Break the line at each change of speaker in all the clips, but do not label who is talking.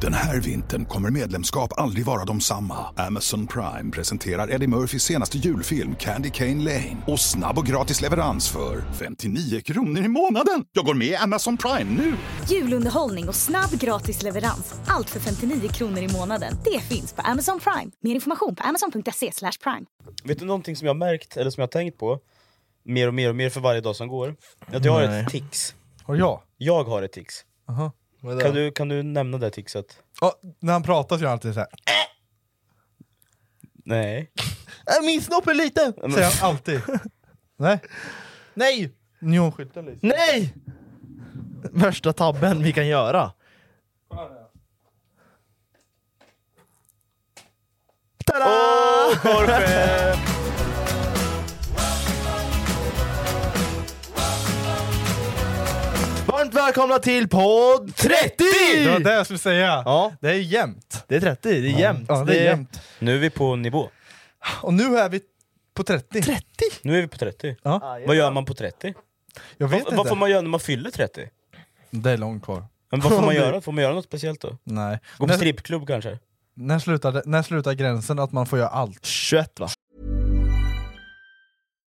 Den här vintern kommer medlemskap aldrig vara de samma. Amazon Prime presenterar Eddie Murphys senaste julfilm Candy Cane Lane. Och snabb och gratis leverans för 59 kronor i månaden. Jag går med i Amazon Prime nu!
Julunderhållning och snabb gratis leverans. Allt för 59 kronor i månaden. Det finns på Amazon Prime. Mer information på amazon.se slash prime.
Vet du någonting som jag har märkt, eller som jag har tänkt på, mer och mer och mer för varje dag som går? Att jag har
Nej.
ett tics.
Har jag?
Jag har ett tics.
Aha. Vad är det?
Kan du, kan du nämna det ticset?
Ja, när han pratar så gör han alltid såhär
Nej.
Äh, min snopp är liten!
Säger han alltid Nej,
Nej!
neonskylten lyser
Nej! Värsta tabben vi kan göra. Tada! Varmt välkomna till podd 30!
Det var det jag skulle säga!
Ja,
Det är jämnt!
det är 30, det är jämnt.
Ja, det är jämnt.
Nu är vi på nivå.
Och nu är vi på 30 30?
Nu är vi på 30.
Ah,
Ja,
Vad gör man på 30?
jag vet
Vad,
inte
vad får man göra när man fyller 30?
Det är långt kvar
Men vad får man göra? Får man göra något speciellt då?
Nej
Gå på
när,
strippklubb kanske?
när, slutar, det- när slutar gränsen att man får göra allt?
21 va?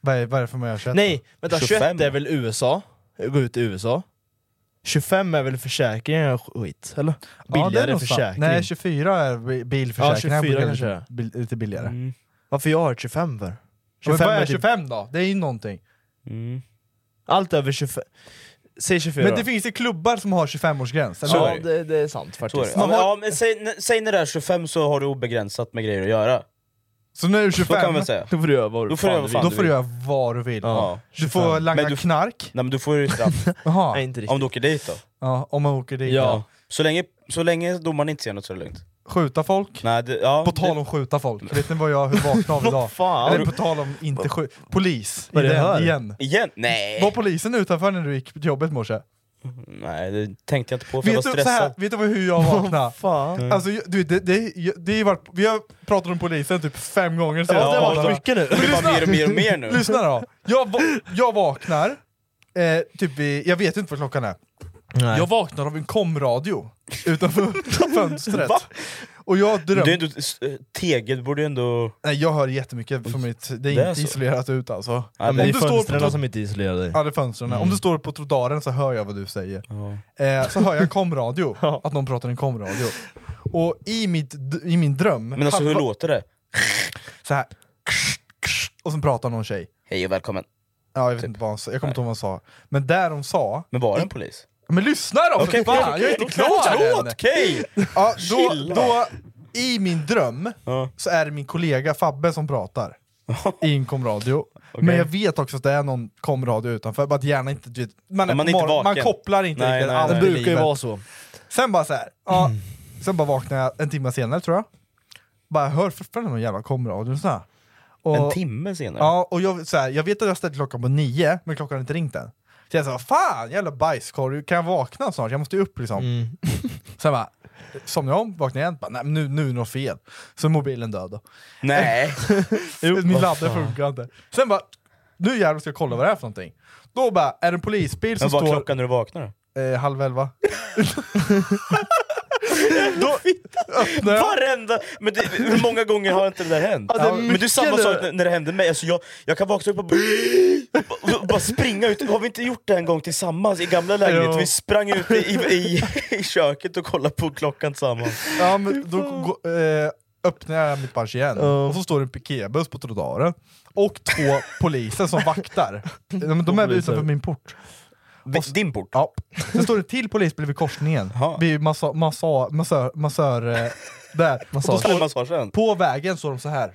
Vad är, vad är det för man gör 21?
Nej, vänta
25.
21 är väl USA? Gå ut i USA? 25 är väl försäkringar och skit, eller?
Ja, det är
Billigare
nog sant.
försäkring?
Nej, 24 är bi- bilförsäkring.
Ja, 24
lite,
kanske. Mm.
bil- lite billigare.
Mm.
Varför jag har 25 för?
Men
25
vad
är
är
typ,
25 då? Det är ju någonting.
Mm.
Allt över 25... Säg 24
Men det finns ju klubbar som har 25-årsgräns, eller
Så
hur?
är
Ja, det, det är sant
Så är det.
faktiskt.
Ja, men, ja, men säg, säg när det är 25 så har du obegränsat med grejer att göra.
Så nu är du
Så
25,
kan man säga.
Då får du göra vad du
Då får du göra
du
vad fan
då
du
får du
vill.
göra vad du vill.
Ja.
Du får langa
Men du-
knark,
Nej men du får ju straff
Jaha.
Nej, inte
om
riktigt.
du åker dit då.
Ja, om man åker dit.
Ja.
Så länge, så länge domaren inte ser något så är det lugnt.
Skjuta folk.
Nej, det, ja,
På tal om skjuta folk, vet ni vad jag hur vaknade av idag?
Fan.
Eller på tal om inte skjuta... Polis.
Vad är det jag
Igen.
hör?
igen.
det, igen? Nej!
Var polisen utanför när du gick till jobbet i morse?
Nej, det tänkte jag inte på för jag var
Vet du, så här,
stressad. Mm.
vet du vad- hur jag vaknade?
Fan.
Alltså, jag- du, det, det, jag- det är ju varit, vi har pratat om polisen typ fem gånger sedan.
Ja,
det har
ja.
varit mycket nu.
Det blir bara mer och mer och mer nu.
Lyssna då. Jag, va- jag vaknar, eh, typ vid, jag vet inte vad klockan är. Jag vaknar av en komradio utanför fönstret.
Va?
Och jag
Det är
drömmer...
ändå, s- eh, tegel borde ju ändå...
Nej, jag hör jättemycket från mitt... Det är
Det är
inte
så.
isolerat ut alltså.
Ja,
Ja, men
men
det
om
är
du står på
fönstren
tro-
som inte isolerar dig.
Ja, det är fönstren.
Mm.
Om du står på trottoaren så hör jag vad du säger. Eh, så hör jag komradio, att någon pratar i en komradio. Och i, mitt, d- i min dröm...
Men alltså hur
halva-
låter det?
Så här. Och sen pratar någon tjej.
Hej och välkommen.
Ja, jag vet
Typ.
inte vad hon sa. Jag kommer inte ihåg vad hon sa. Men där hon sa...
Men var det en polis?
Men lyssna då! för fan, jag är inte klar än!
Förlåt! Okej!
Ja, då,
Chilla.
då, I min dröm
Ja.
så är det min kollega Fabbe som pratar i en komradio. Men jag vet också att det är någon komradio utanför, bara att gärna inte... du vet, Man, är
Ja, man är
på
inte
morgonen, man
vaken.
kopplar inte
Nej,
riktigt
nej,
allt
nej.
i
Det brukar ju
livet.
vara så.
Sen bara så här, ja,
Mm.
sen bara vaknar jag en timme senare tror jag. Bara hör fortfarande någon jävla komradio. och Så här. Och,
En timme senare?
Ja, och jag, så här, jag vet att jag ställde klockan på nio, men klockan har inte ringt än. Så jag sa, fan jävla bajskorv, kan jag vakna snart? Jag måste ju upp liksom.
Mm.
Sen bara, somnade jag om, vaknade igen, bara, nej men nu, nu är det något fel. Så mobilen död då.
Nej!
Jo, Min laddare funkar inte. Sen bara, nu jävlar ska jag kolla vad det är för någonting. Då bara, är det en polisbil som
Men vad är
står
klockan när du vaknar då?
eh, halv elva? då öppnar jag.
Varenda! Men det, hur många gånger har inte det där hänt?
det är
men det är samma
mycket
sak
det.
när- när det hände mig, alltså jag, jag kan vakna upp och bara, och bara springa ut. Har vi inte gjort det en gång tillsammans i gamla lägenheten? Vi sprang ut i, i, i, i köket och kollade på klockan tillsammans.
Ja, men då gå- eh, öppnar jag mitt page igen, och så står det en piketbuss på trottoaren. Och två poliser som vaktar. Ja, men de är väl utanför min port.
Vid Din port?
Ja. Sen står det till polisbil vid korsningen,
Jaha.
vid massa, massa, massör... massör eh, där. Och då
Eller
står,
massagen?
på vägen står de så här.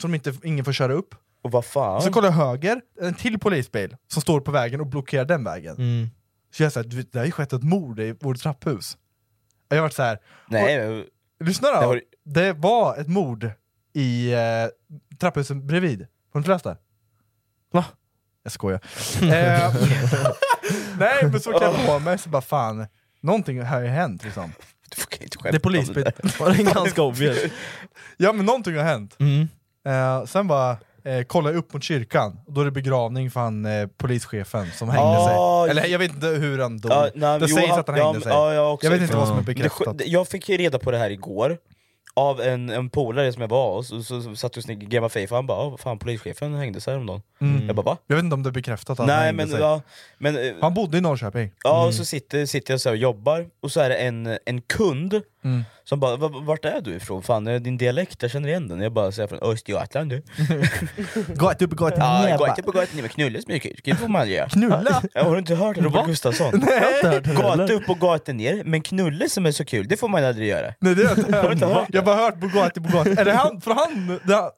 så de inte, ingen får köra upp.
Och vad fan?
Så kollar jag höger, en till polisbil som står på vägen och blockerar den vägen.
Mm.
Så jag säger, du vet, det har ju skett ett mord i vårt trapphus. Och Jag har varit så här.
Nej, men-
lyssna då!
Det
Det,
har-
var ett mord i eh, trapphusen bredvid. Har du inte läst det? Va? Jag skojar. eh, nej men så kan jag på mig, så bara fan, någonting har ju hänt liksom.
du får kan inte
Det
skämta
är polisbil.
Var det ganska obvious?
Ja men någonting har hänt.
Mm.
Eh, sen bara eh, kollar jag upp mot kyrkan, och då är det begravning för han eh, polischefen som hängde
Ah,
sig. Eller jag vet inte hur han dog.
Ja, nej,
Mm. det
jo,
sägs att han
ja,
hängde
men-
sig.
ja, jag också.
jag vet inte vad som är
Det sj-
bekräftat.
det- jag fick ju reda på det här igår av en, en polare som jag var hos, och så, så satt vi och snick- gammade fejf och han bara "Ja, fan polischefen hängdes häromdagen. Jag bara va?
Jag vet inte om det är bekräftat att han
Nej
hängde
men,
sig. Mm.
ja, men eh,
Han bodde i Norrköping.
ja, och så sitter, sitter jag så här och jobbar, och så är det en, en kund
Mm.
som bara "Va- vart är du ifrån? Fan eh, din dialekt, jag känner igen den. Jag bara säger från Östergötland du.
Gata upp, gata
Ja, gatan på gatan, men knulla så mycket, det får man göra.
Knulla?
Ja, Har du inte hört Robert Gustafsson?
hört det
Gata upp och gata ner, men knulla som är så kul, det får man aldrig göra.
Nej det har jag inte
inte hört
hört.
det?
Jag har bara hört Bugatti, Bugatti. är det han, för han, det, är-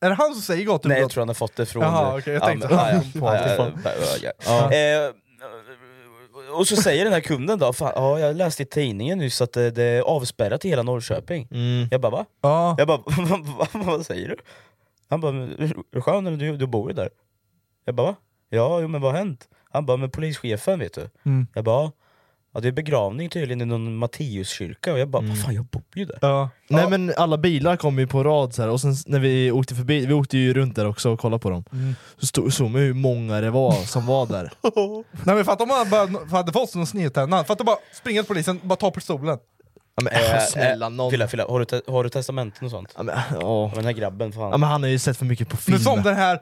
är det han som säger gata
Nej jag
Bugatti?
tror han har fått det från...
Jaha, okej, jag
Ja,
tänkte
men-
han
ja,
kom på
ja,
det.
ja, ja, ja, ja. Eh, Och så säger den här kunden då, fan, ja, jag läste i tidningen nyss att det, det är avspärrat i hela Norrköping. Jag bara va?
Ja.
Jag bara, "Va- va- vad säger du? Han bara, "Men är du skön eller du, du bor ju där? Jag bara, va? Ja, jo, men vad har hänt? Han bara, men polischefen vet du.
Mm.
Jag bara, ja det är begravning tydligen i någon Matteuskyrka och jag bara,
Mm.
vad fan jag bor ju där.
Ja.
Nej men alla bilar kom ju på rad så här. och sen s- när vi åkte förbi, vi åkte ju runt där också och kollade på dem. Så stod, såg man hur många det var som var där.
Nej men fatta om han bara hade fått någon snedtända, fatta bara springa till polisen, bara ta pistolen.
Ja, men
Eh,
äh,
eh,
snälla någon.
Filla, filla, har du, te- har du testamenten och sånt?
Ja, men, ja.
Men den här grabben, fan.
ja men han har ju sett för mycket på
Nu
film.
som den här...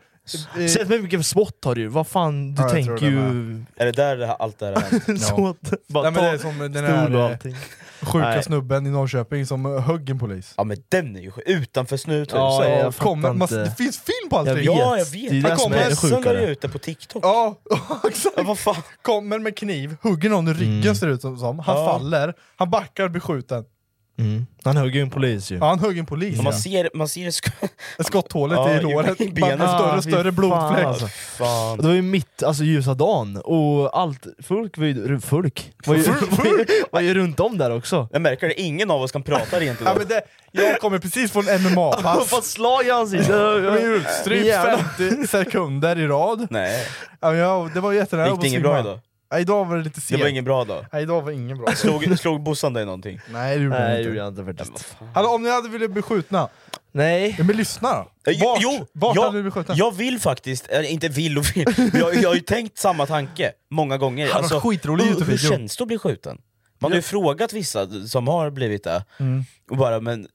eh,
Sett för mycket spott har du ju, vad fan, du
Ja, jag
tänker
tror det
ju...
Är det där det här, allt det här har hänt?
så att, bara
Nej, men
ta
det är som den
stol och
här eh,
allting.
sjuka
Nej.
snubben i Norrköping som eh, högg en polis.
Ja men den är ju sjuk. utanför snuthuset.
Ja,
ja,
jag
Och
fattar
kommer- man-
inte.
det finns film på
Jag
allting!
vet.
jag
Det
vet.
är det
Han
som
är
kommer
sjukare.
söndag ute på TikTok.
Ja, exakt!
Ja, vad fan?
Kommer med kniv, hugger någon i ryggen ser det ut som, som. han
Ja.
faller, han backar och blir skjuten.
Mm. Han högg ju en polis ju.
Ja, han högg en polis.
Man ser, man ser sk-
Skotthålet
Ja,
i
i
låret,
benet.
bara en större
Ah,
och större
fy fan,
blodfläck.
alltså.
Fan.
Det var ju mitt, alltså ljusa dagen, och allt, folk var ju, folk var ju, var ju runt om där också.
Jag märker det, ingen av oss kan prata rent
Ja,
idag.
men det, jag kommer precis från MMA-pass.
Fast slag i ansiktet!
Jag blev utstrypt
Jävlar.
50 sekunder i rad.
Nej,
Ja, men jag, det var jättenära
gick
att
det inget
svimma.
bra idag?
Ja, idag var det lite
Det
sent.
var ingen bra dag.
Nej, idag var ingen bra.
Slog, slog bossan dig någonting?
Nej, det gjorde
Nej
jag
det
inte.
gjorde jag inte faktiskt.
Hallå, om ni hade velat bli skjutna?
Nej.
Ja, men lyssna då.
Eh,
Vart,
jo,
vart
jag,
hade ni blivit skjutna?
jag vill faktiskt, eller inte vill och vill, men jag, jag har ju tänkt samma tanke många gånger. Alltså,
var skitrolig
hur, hur
Youtube-video.
känns det att bli skjuten? Man har ju frågat vissa som har blivit det, och bara men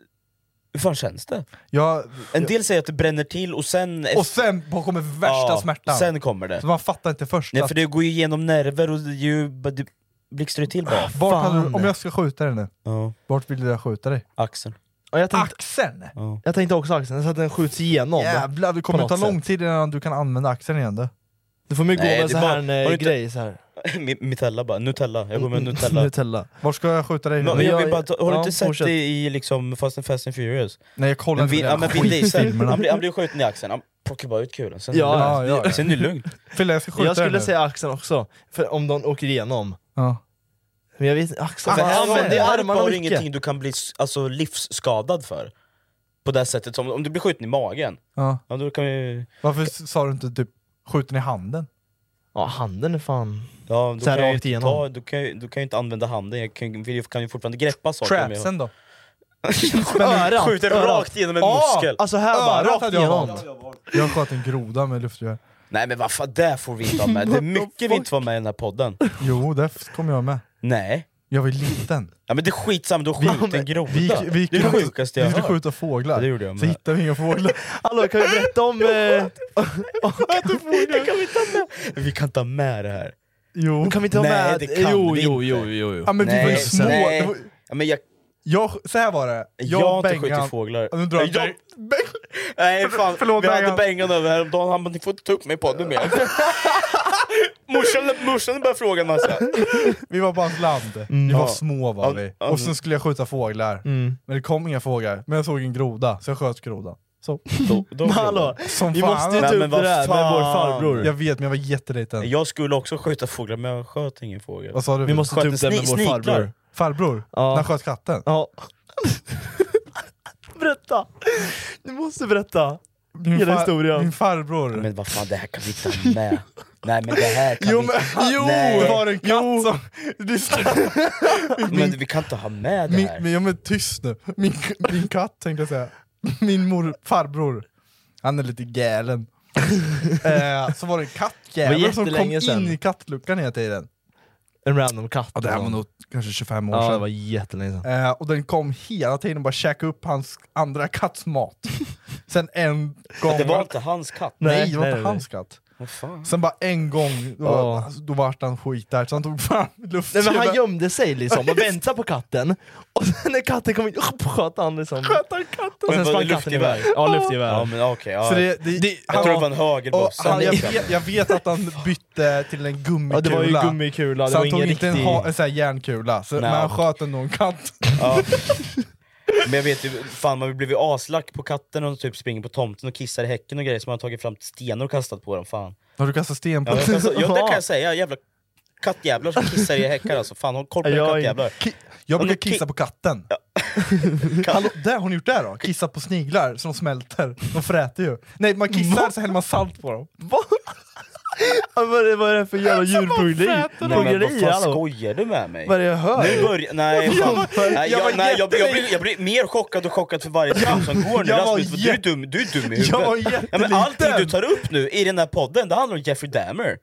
hur fan känns det?
Jag,
En del säger att det bränner till och sen...
och sen bara kommer värsta
Ja,
smärtan.
Sen kommer det.
Så man fattar inte först.
Nej
att,
för det går ju igenom nerver och det, är ju, det blixtrar ju till bara.
vart hade
fan.
du, om jag ska skjuta dig nu,
Ja,
vart vill jag skjuta dig?
axeln.
Och jag,
Ah!
tänkte,
Axeln!
jag tänkte också axeln, så att den skjuts igenom.
Jävlar, det kommer
På
ta
något
lång tid innan du kan använda axeln igen du.
Du får mig gå
Nej, det
med
är
så
bara-
här en
har du
eh,
inte-
grej så här.
Mi- Mitella bara, Nutella, jag går med Mm, Nutella.
Nutella.
Var ska jag skjuta dig?
Men,
Men
jag
jag-
vill bara, ta- har du
ja,
inte sett
fortsätt.
det i liksom Fast and Fast and Furious?
Nej jag kollar
Men
inte
Vin, ja, men Vin Diesel,
skitfilmerna.
han blir, han blir skjuten i axeln, han plockar bara ut kulan, sen,
Ja,
är
ja,
det
ja, ja.
lugnt. sen är det lugnt.
Fille jag ska skjuta
Jag
dig nu.
skulle säga axeln också, för om de åker igenom.
Ja.
Men jag vet axeln...
Men
fan, använder
här-
använd dig
ju
armar
armarna
har
mycket.
ingenting du kan bli s- alltså, livsskadad för. På det sättet, som, om du blir skjuten i magen,
Ja.
ja, då kan ju...
Varför s- sa du inte typ skjuten i handen?
Ja, handen är fan...
Ja, då
Så här
kan
rakt
jag ju inte
igenom.
ta, då kan, jag, då kan jag inte använda handen, jag kan, vill ju- kan ju fortfarande greppa saker om jag-
Trapsen då?
Örat!
Skjuter
örat.
rakt igenom en
Ah!
muskel!
Alltså här bara,
Örat
rakt
hade jag
igenom.
valt. Jag sköt en groda med luftgevär.
Nej men vad fan, det får vi inte vara med. Det är mycket vi inte får vara med i den här podden.
Jo, där f- kom jag med.
Nej.
Jag var ju liten.
Ja men det är skitsamma, du har skjutit en groda.
Vi, gick- vi, gick
det är det
runt-
sjukaste jag
Vi
har
skulle
hört.
skjuta fåglar.
Det gjorde jag
så
med.
hittade vi inga fåglar.
Hallå, kan vi berätta om... Eh,
Det kan vi inte ha med. Vi kan ta med det här.
Jo.
kan vi inte ha
Nej,
med...
det kan
jo,
vi
jo,
inte.
jo, jo, jo.
Ja, men vi var ju
Nej,
små.
nej.
Det var-
Ja, men jag,
Jag, så här var det.
jag, har inte skjutit fåglar.
Ja, Nu drar jag
Eh, jag,
Bengan-
nej fan,
förlåt,
vi hade
Bengan.
Bengan över häromdagen, han bara ni får inte ta upp mig på podden mer. morsan, morsan började fråga en massa.
Vi var på hans land.
Mm.
Vi var
Ja.
små var
Ja,
vi.
ja,
Och sen skulle jag skjuta fåglar. Men det kom inga fåglar. Men jag såg en groda, så jag sköt grodan. Så.
Då, då
Men hallå,
Som
vi
fan.
måste ju ta
Nej, men
upp det
vad
där med
fan.
vår farbror.
Jag vet, men jag var jätteliten.
Jag skulle också skjuta fåglar men jag sköt ingen fågel.
Vad sa du?
vi måste ta
Sköt
upp det med
sni-
vår
sniklar.
farbror.
Farbror?
Ja.
När han sköt katten?
Ja. berätta! Du måste berätta!
Min
Hela
far-
historien.
Min farbror.
Men vad fan, det här kan vi inte ha med. Nej men det här kan
jo,
vi
men,
inte ha
jo!
Nej.
Det var en katt som... Det är så-
Men vi kan inte ha med det
min,
här.
min, ja, men tyst nu. Min, min katt tänkte jag säga. Min mor, farbror. Han är lite galen. eh, så var det en
Det
kattjävel
var
som kom
jättelänge sedan.
in i kattluckan hela tiden.
En random katt.
Ja, det här var nog kanske 25 år
Ja, det
sedan.
var jättelänge sedan.
Eh, och den kom hela tiden och bara käkade upp hans andra katts mat. Sen en gång...
Det var inte hans katt.
Nej, det var
Nej,
inte
nej,
hans katt.
Vad fan.
Sen bara en gång, då,
Ja.
alltså, då vart han skitärd så han tog fram
Nej, men
luftgevär.
han gömde sig liksom och väntade på katten, och sen när katten kom in sköt han liksom. Sköt han katten? Och
Men
sen
var
sprang
det
katten
luftgevär?
iväg. Ja,
Ja
luftgevär.
men okej, ja.
Så det, det,
jag tror det var en
och han, jag,
högerbossa.
vet, jag vet att han bytte till en gummikula.
Ja, det var ju gummikula, det
så
var
han
ingen
tog
riktig...
inte en, ha, en sån här järnkula, så, men han sköt ändå en katt.
Ja. Men jag vet ju, fan man blev ju aslack på katten och typ springer på tomten och kissar i häcken och grejer som man har tagit fram stenar och kastat på dem, fan.
Har du kastat sten på
Ja, jag kan, så, ja det kan
Ja.
jag säga, jävla kattjävlar som kissar i häckar alltså, fan håll koll på era
Jag är-
kattjävlar.
Ki- jag brukar
men ki-
kissa på katten.
Katt-
Hallå, där, har ni gjort det då? Kissa på sniglar så de smälter, de fräter ju. Nej, man kissar så häller man salt på dem.
Ja, Vad är det- vad är det för jävla djurplågeri?
Nej, men vad
Plågeri
fan
hallå?
skojar du med mig?
Vad är det jag
Nu
hör?
börjar... Nej, fan. nej,
jag var
jag, nej jag, jag, blir, jag blir mer chockad och chockad för varje sekund som går nu
jag var
Rasmus, för du är
jätte-
dum, du är dum i
Jag var
huvudet. Ja, men allting
jätteliten.
du tar upp nu i den här podden, det handlar om Jeffrey Dahmer.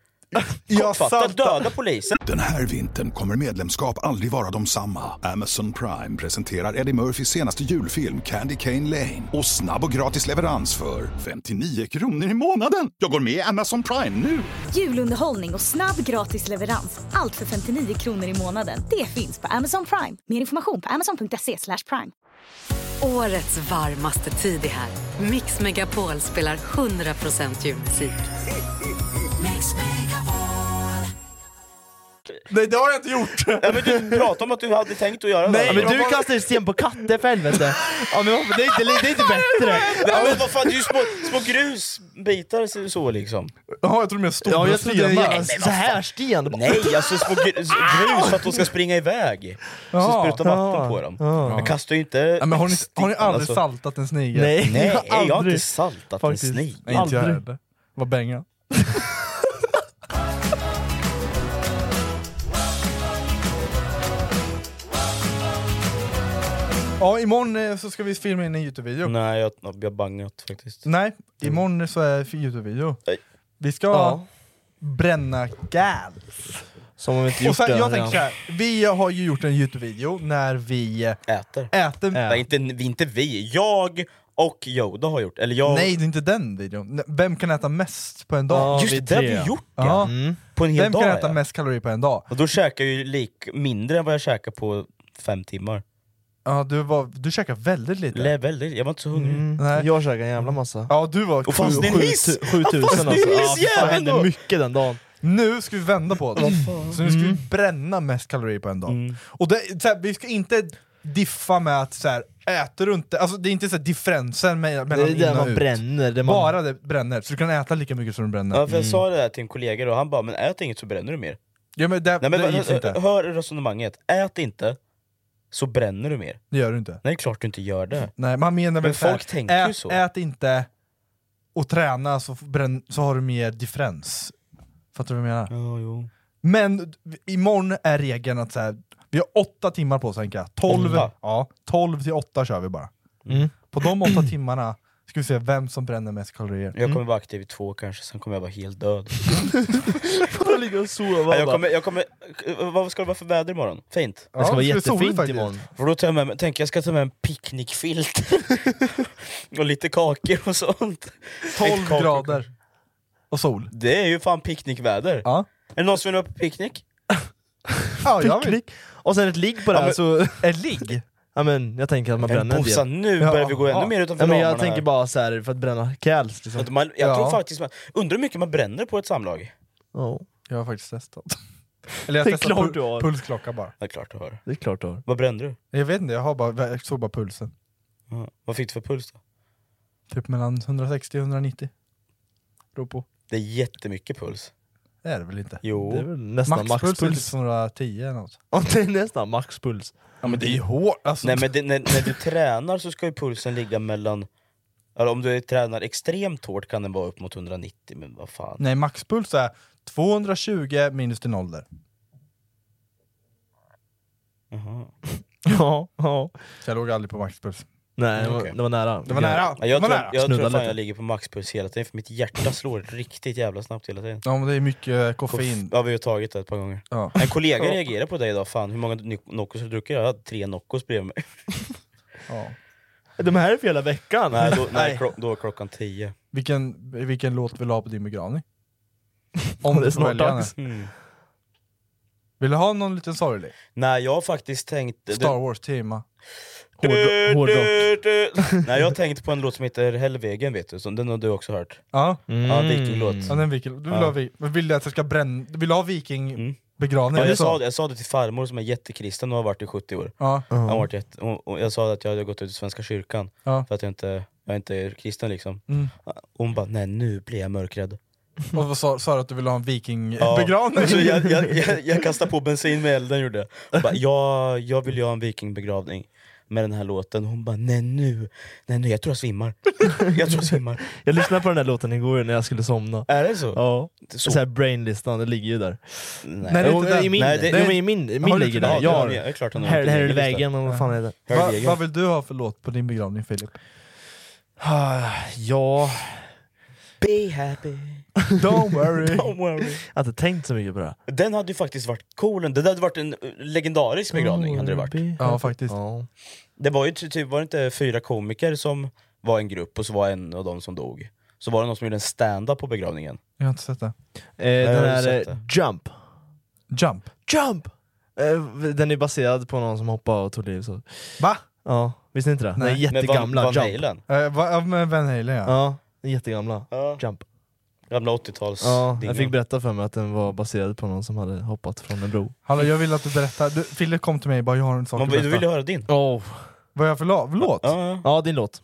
Jag
Kortfattat,
saltar.
döda polisen.
Den här vintern kommer medlemskap aldrig vara de samma. Amazon Prime presenterar Eddie Murphys senaste julfilm Candy Cane Lane. Och snabb och gratis leverans för 59 kronor i månaden. Jag går med i Amazon Prime nu!
Julunderhållning och snabb gratis leverans. Allt för 59 kronor i månaden. Det finns på Amazon Prime. Mer information på amazon.se slash prime.
Årets varmaste tid är här. Mix Megapol spelar 100% julmusik.
Nej, det har jag inte gjort!
Ja, men du pratade om att du hade tänkt att göra
Ja,
det.
men du kastar ju sten på katter för helvete! Ja, men varför- det, är inte, det är inte bättre!
Nej, men vad fan, det är ju små, små grusbitar så- så liksom.
Jaha, jag tror mer stora
Ja, jag trodde det var en jävla
stenar.
så här sten.
Nej, alltså små gr- s- grus för att de ska springa iväg. Så
Ja.
sprutar vatten på dem. Men kastar ju inte...
Nej, men har, ni, har ni
stickan,
aldrig
alltså.
saltat en snigel?
Nej,
Nej, jag har inte
aldrig.
saltat en
Faktiskt.
snigel.
Nej, inte jag
Aldrig.
heller. Vad bänga. Ja, imorgon eh, så ska vi filma in en Youtube-video. Nej,
Nej, jag jag har bangat faktiskt.
imorgon så är det för Youtube-video.
Nej.
Vi ska
Ja.
bränna gal.
Som om vi inte gjort
Och sen,
det.
jag tänker så här, vi har ju gjort en Youtube-video när vi eh,
Äter.
äter...
Nej, inte, vi- inte vi. Jag och Yoda har gjort. Eller jag...
Nej, det är inte den videon. Vem kan äta mest på en dag?
Ja,
just det,
vi
det har
tre.
vi gjort
Ja.
ja. På en hel
Vem
dag
kan äta
ja.
mest kalorier på en dag?
Och då käkar jag ju lik, mindre än vad jag käkar på fem timmar.
Ja, du, var, du käkar väldigt lite.
Lä, väldigt, jag var inte så hungrig.
Nej.
Jag käkar en jävla massa.
ja, du var
Och fanns det en hiss?
7000 alltså.
det är
Ja,
ju
fan, det
jäveln då.
hände mycket den dagen.
Nu ska vi vända på det. Så nu ska vi
Mm.
bränna mest kalorier på en dag. Och det, så här, vi ska inte diffa med att så här, äter du inte, alltså det är inte så här differensen me-
Det
mellan
är det
in och
man
ut.
bränner. Det man...
Bara det bränner, så du kan äta lika mycket som du bränner.
Ja, för jag sa det där till en kollega och han bara 'men ät inget så bränner du mer'
Ja, men det,
Nej men
det gick
hör,
inte,
hör resonemanget, ät inte så bränner du mer.
det gör du inte.
Nej klart du inte gör det.
Nej, man menar väl
Men
så här,
folk tänker ju
ät,
så.
Ät inte och träna så, f- bränn, så har du mer differens. Fattar du vad jag menar?
Ja, jo.
Men imorgon är regeln att så här, vi har åtta timmar på oss Henka. 12,
Åtta?
ja, 12 till 8 kör vi bara.
Mm.
På de åtta timmarna ska vi se vem som bränner mest kalorier.
Jag kommer vara aktiv i två kanske, sen kommer jag vara helt död.
Bara ligga och sova.
Nej, jag kommer, jag kommer, eh, vad ska det vara för väder imorgon? Fint.
det ska vara
Ja, det ska bli soligt
jättefint
faktiskt.
imorgon.
För då tar jag med mig, tänker jag ska ta med en picknickfilt. och lite kakor och sånt.
12
Ett kakor.
grader och sol.
Det är ju fan picknickväder.
Ja.
Är det någon som vill ha på picknick?
Ja, jag vill.
Picknick. Och sen ett ligg på det
Ja,
här
men-
så...
Ett ligg?
Ja men jag tänker att man bränner en
Bossa,
del.
nu
Ja,
börjar vi gå
ja.
ännu mer utanför
Ja, men jag
ramarna
tänker
här.
bara så här för att bränna kräls liksom.
Att man, jag
Ja.
tror faktiskt man, undrar hur mycket man bränner på ett samlag?
Ja,
Jag har faktiskt testat. Eller jag
Det är
har testat
klart
pul-
du har.
pulsklocka bara.
Det är klart du har.
det är klart då.
Vad brände du?
Jag vet inte, jag, har bara, jag såg bara pulsen.
Ja. Vad fick du för puls då?
Typ mellan 160 och 190. Beror på.
Det är jättemycket puls.
Det är det väl inte?
Jo.
Det är väl nästan
Maxpuls är
maxpuls.
typ 110 eller något.
Ja, det är nästan maxpuls.
Ja men det är ju hårt alltså.
Nej men det, när, när du tränar så ska ju pulsen ligga mellan... Eller om du tränar extremt hårt kan den vara upp mot 190, men vad fan.
Nej, maxpuls är 220 minus din ålder.
Jaha.
Ja, ja.
Så jag låg aldrig på maxpuls.
Nej, det var,
Okej.
det var nära.
Det var nära!
Ja, jag
det var
tror,
nära.
jag tror
Snudda
fan
lite.
jag ligger på maxpuls hela tiden, för mitt hjärta slår riktigt jävla snabbt hela tiden.
Ja men det är mycket eh, koffein.
Ja, vi har ju tagit det ett par gånger.
Ja.
En kollega reagerade på dig idag, fan hur många ny- Noccos har du druckit? Jag hade tre Noccos bredvid mig.
Ja.
De här är för hela veckan.
Nej, då, nej. Klo, då var klockan tio.
Vilken, vilken låt vill du ha på din begravning?
Om det är
du får
snart
välja
dags.
nu.
Hmm.
Vill du ha någon liten sorglig?
Nej, jag har faktiskt tänkt...
Star Wars-tema.
Hårdro- Hårdrock.
Nej, jag har tänkt på en låt som heter Helvegen vet du, som den har du också hört.
Ja,
Ja, viktinglåt.
ja den vill, du vill,
Mm. Ja.
ha, vi- men vill du att jag ska bränna, vill du ha
Mm.
vikingbegravning?
Ja,
eller
jag,
så?
sa, det- jag sa det till farmor som är jättekristen och har varit i 70 år.
Ja.
Han har varit jätte, och, och jag sa att jag hade gått ut i Svenska kyrkan
Ja.
för att jag inte, jag inte är kristen liksom.
Mm.
Och hon bara, nej nu blir jag mörkrädd.
Och vad sa, sa du att du ville ha en
Ja.
vikingbegravning?
Så jag, jag, jag, jag kastade på bensin med elden gjorde jag. Hon bara, ja, jag vill ju ha en vikingbegravning med den här låten. Hon bara, nej nu, nej nu, jag tror jag svimmar. Jag tror jag svimmar.
Jag lyssnade på den här låten igår när jag skulle somna.
Är det så?
Ja,
Så-
så. Så här brainlistan, det ligger ju där.
Nej, det är
Jo,
inte den.
I min,
Nej, det-
jo, men i min, min
Har du
ligger
inte
där.
den?
Jag
det är
har
klart han har
här,
en
här är
egen lista.
vägen och vad fan är det?
Va,
Helvegen.
vad vill du ha för låt på din begravning Filip?
Ah, Ja,
Be happy,
Don't worry!
don't worry.
jag har inte tänkt så mycket på det. här.
Den hade ju faktiskt varit cool, det hade varit en eh, legendarisk begravning hade det varit.
ja faktiskt.
Ja.
Det var ju ty- typ, var det inte fyra komiker som var en grupp och så var en av dem som dog? Så var det någon som gjorde en stand-up på begravningen.
Jag har inte sett det.
Eh,
har
den
du
här
sett
eh,
det?
Jump.
Jump!
Jump! Eh, Den är baserad på någon som hoppade och tog liv. Så.
Va?
Ja, visste ni inte det? Den är
Nej.
jättegamla,
Van, Van
Jump.
Halen.
Eh, va, ja, med Van Halen ja.
Ja, den är jättegamla.
Ja.
Jump.
Gamla 80-tals...
Ja,
dingan.
jag fick berätta för mig att den var baserad på någon som hade hoppat från en bro.
Hallå jag vill att du berättar, du, Fille kom till mig och bara jag har en sak
Man,
att
du
berätta.
vill ju höra din?
Oh.
Vad jag för la- låt?
Ja,
Ja, din låt.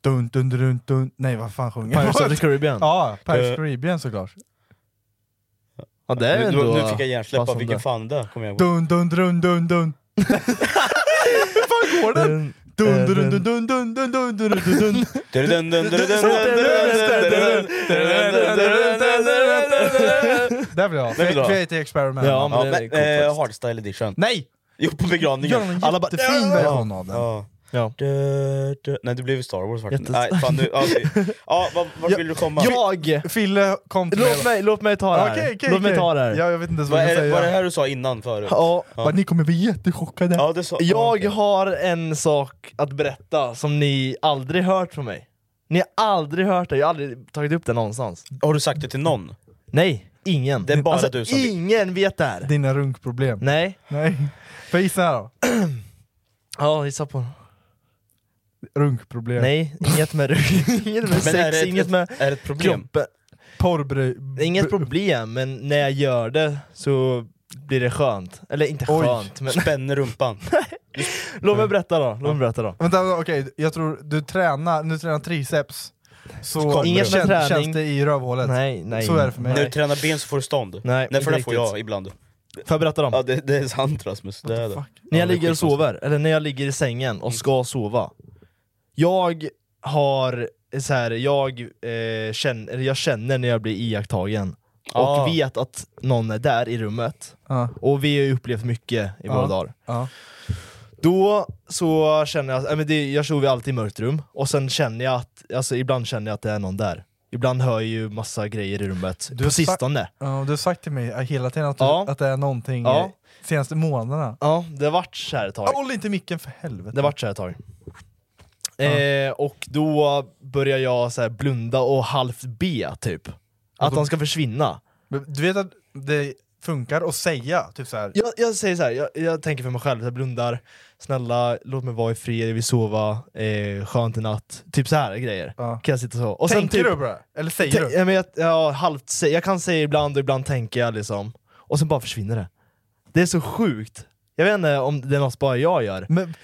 Dun, dun, dun, dun, dun. Nej vad fan sjunger
Pirates of the
jag?
Caribbean.
Ja, Pirates
Eh.
Caribbean såklart.
Ja, det är
nu,
ändå...
nu fick jag hjärnsläpp av
passande.
vilken fan det kommer jag ihåg.
Dun dun dun dun dun. Hur fan går den?
Den-
Dun
eh,
dun
den-
dun dun dun dun dun dun dun dun.
Dun, dun, dun, dun, dun, dun, dun, dun, dun, dun, dun.
Där vill jag ha.
Den vill du ha.
Create the experiment.
Ja, men
Ja,
det är
men,
coolt
eh,
faktiskt.
Hardstyle edition.
Nej!
Jo, på
Gör
begravningen.
en
Alla bara...
jättefin version av den.
Ja.
Ja.
Du, du. Nej, det blev ju Star Wars faktiskt.
Jättes-
Nej, fan, nu, ja, vi- ja, var, vart vill du komma?
Jag!
Fille kom till mig.
Låt mig, låt mig ta det här.
Okej, okej,
låt mig
okej.
ta det här.
Ja, jag vet inte ens
Vad
vad jag
är, var det
säger.
här du sa innan förut?
Ja,
Bara, Ni kommer bli jättechockade.
Ja, det sa,
jag
okej.
har en sak att berätta som ni aldrig hört från mig. Ni har aldrig hört det, jag har aldrig tagit upp det någonstans.
har du sagt det till någon?
Nej, ingen.
Det är bara
alltså,
du som vet.
ingen vet det här.
Dina runkproblem.
Nej.
Nej. Får jag gissa här då?
Ja, gissa på.
Runkproblem.
Nej, inget med rygg, inget med
Men är det
sex,
ett,
inget med
ett, är det ett problem?
kroppen.
Porrbry...
Det är inget problem, men när jag gör det så blir det skönt. Eller inte
Oj.
skönt, men
Spänner rumpan.
låt
Mm.
mig berätta då. Låt mig berätta då.
Vänta, okej. Jag tror du tränar, nu tränar triceps. Så
Inget med
kän-
träning.
känns det i rövhålet.
Nej, nej.
Så är det för mig.
När du
Nej.
tränar ben så får du stånd.
Nej,
Nej, för
inte
det får
riktigt.
jag ibland.
Får jag berätta
Ja,
dem?
det, det är sant Rasmus. Det är det.
När jag
det är
ligger och
skitkonstigt.
sover, eller när jag ligger i sängen och ska sova. Jag har så här, jag, eh, känner, eller jag känner när jag blir iakttagen.
och
Ah.
vet att någon är där i rummet.
Ja.
Och vi har ju upplevt mycket i våra
Ja.
dagar.
Ja.
Då så känner jag, äh, men det, jag sover ju alltid i mörkt rum, och sen känner jag att, alltså ibland känner jag att det är någon där. Ibland hör jag ju massa grejer i rummet,
Du
på
har sagt-
sistone.
Ja, och du har sagt till mig eh, hela tiden att,
Ja.
du, att det är någonting
Ja.
ja. senaste månaderna.
Ja, det vart så här ett tag.
Ja, Håll inte micken för helvete.
Det vart så här ett tag. Eh, och då börjar jag så här blunda och halvt be, typ. Att han ska försvinna.
Men Du vet att det funkar att säga typ så här.
Jag, jag säger så här, jag, jag tänker för mig själv, jag blundar, snälla låt mig vara i fred, jag vill sova, eh, skönt i natt. Typ så här grejer.
Ja.
Kan jag sitta så. Och sen
Tänker
typ,
du på det? Eller säger
Te-
du?
ja, men jag, ja, halvt, sä- jag kan säga ibland och ibland tänker jag liksom. Och sen bara försvinner det. Det är så sjukt. Jag vet inte om det är något bara jag gör.
Men,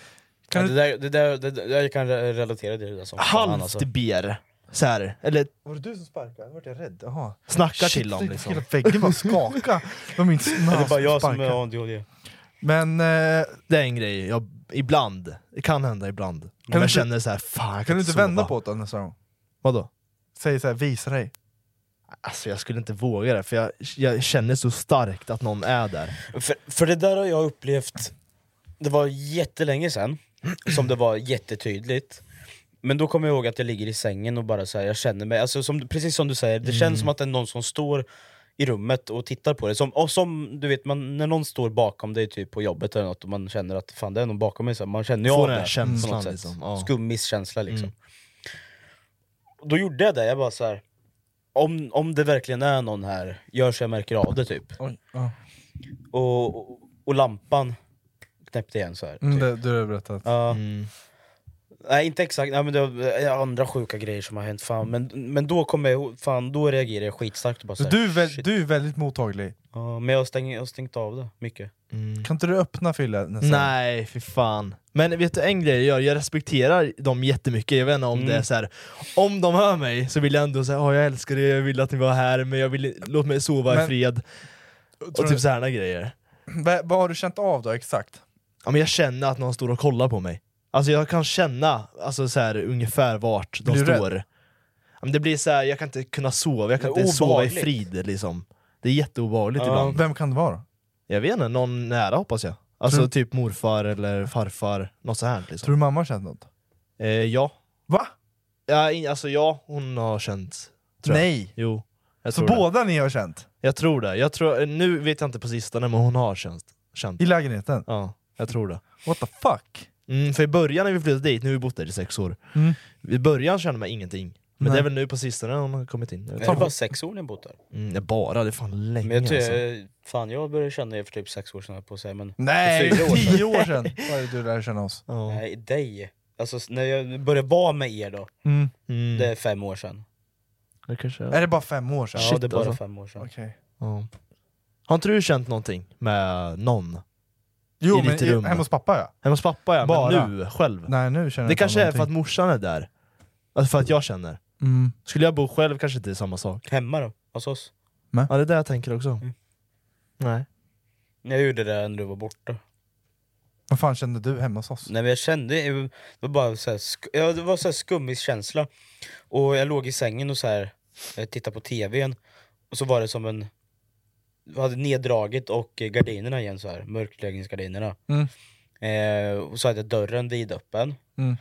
kan
Ja,
du,
det, där, det, där, det där, jag kan re- relatera till det där som fan, alltså.
Halvt ber. Så här, eller
var det du som sparkade? Vart jag rädd? Jaha.
snackar
Shit,
till dem
hela
liksom.
väggen bara skaka. Det var min
Ja, Det
smash
är bara jag som
sparkade.
har ADHD.
Men eh,
Det är en grej, jag, ibland. Det kan hända ibland. Om jag
inte-
känner så här, fan jag
kan du inte vända
sova.
på det nästa gång?
Vadå?
Säg så här, visa dig.
Alltså jag skulle inte våga det, för jag, jag känner så starkt att någon är där.
För, för det där har jag upplevt, det var jättelänge sedan som det var jättetydligt. Men då kommer jag ihåg att jag ligger i sängen och bara så här, jag känner mig, alltså som, precis som du säger, det
Mm.
känns som att det är någon som står i rummet och tittar på det. Som, och som du vet, man, när någon står bakom dig typ på jobbet eller något och man känner att fan det är någon bakom mig, så här, man känner ju
Får
av
den
det
här
på något
känslan,
sätt.
liksom, ja.
Skummiskänsla liksom.
Mm.
Och Då gjorde jag det, jag bara så här. Om, om det verkligen är någon här, gör så jag märker av det typ
Oj, ja.
och, och- och lampan knäppte igen så här. Typ.
mm, det, du har berättat.
Ja.
Mm.
Nej inte exakt, Nej, men det var andra sjuka grejer som har hänt. Fan. Men, men då kommer jag ihåg- fan, då reagerar jag skitstarkt. och Bara så
Så
här,
du, är väl,
shit.
du är väldigt mottaglig.
Ja, men jag har, stäng, jag har stängt av det mycket.
Mm.
Kan inte du öppna Fille? nästa gång?
Nej, för fan. Men vet du en grej jag gör? Jag respekterar dem jättemycket, jag vet inte om
Mm.
det är så här. om de hör mig så vill jag ändå säga oh, jag älskar er, jag vill att ni var här, men jag vill, låt mig sova i
Men-
fred.
Tror
Och
du-
typ sådana grejer.
Vad- Vad har du känt av då exakt?
Ja, men jag känner att någon står och kollar på mig. Alltså jag kan känna alltså, så här, ungefär vart de
Blir du
står. Ja, men det blir så här, jag kan inte kunna sova, jag kan
Det är
inte sova i
obehagligt.
frid liksom. Det är jätteobehagligt
Ja.
ibland.
Vem kan det vara?
Jag vet inte, någon nära hoppas jag. Alltså
Tror-
typ morfar eller farfar, något så här liksom.
Tror du mamma har känt något?
Eh, ja.
Va?
ja. in- Alltså ja, hon har känt. Tror jag.
Nej!
Jo. Jag
Så
tror, det.
båda ni har känt?
jag tror det. Jag tror, nu vet jag inte på sistone, men hon har känt. känt.
I lägenheten?
Ja, jag tror det.
What the fuck?
Mm, för i början när vi flyttade dit, nu har vi bott där i sex år,
Mm.
i början kände man ingenting. Men
Nej.
det är väl nu på sistone hon har kommit in. Jag vet
Det är
inte.
bara sex år ni har bott där.
Mm, det är bara, det är fan länge
Men jag,
alltså.
tycker fan, jag började känna er för typ sex år sedan, höll jag på att säga. Men
Nej,
För fyra år sedan.
tio år sedan var det du lärde känna oss.
Ja.
nej, dig. Alltså s- när jag började vara med er då,
Mm.
Mm.
det är fem år sedan.
det kanske är.
Är det bara fem år sedan?
Ja,
Shit,
det är bara
alltså.
fem år sedan.
Okej.
Ja. Har inte du känt någonting med någon?
Jo,
I
men
ditt
i-
rum.
hemma hos pappa ja.
Hemma hos pappa ja,
Bara.
men nu själv?
Nej, nu känner
det
jag
kanske är för att morsan är där. Alltså för att jag känner.
att... Mm.
Skulle jag bo själv kanske inte är samma sak.
Hemma då, hos oss.
Ja det är det jag tänker också.
Mm.
Nej.
Jag gjorde det när du var borta.
Vad fan kände du hemma hos oss?
Nej men jag kände, det var bara så här, sk- ja, det var så här skummig känsla Och jag låg i sängen och så här eh, tittade på tvn Och så var det som en Jag hade neddraget och eh, gardinerna igen så här, mörkläggningsgardinerna
Mm.
eh, Och så hade jag dörren vidöppen
Mm.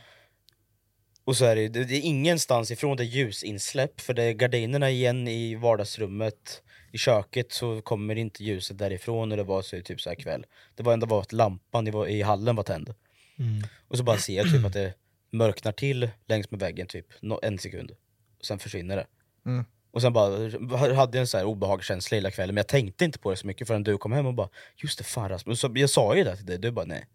Och så är det, det är ingenstans ifrån det är ljusinsläpp För det är gardinerna igen i vardagsrummet I köket så kommer inte ljuset därifrån eller var så är det typ så här kväll Det var enda var att lampan i, var- i hallen var tänd
Mm.
och så bara ser jag typ att det mörknar till längs med väggen typ nå- en sekund. Och sen försvinner det.
Mm.
Och sen bara hade jag en så här obehagskänsla hela kvällen men jag tänkte inte på det så mycket förrän du kom hem och bara Just det, fan Rasmus. Så jag sa ju det till dig, du bara nej.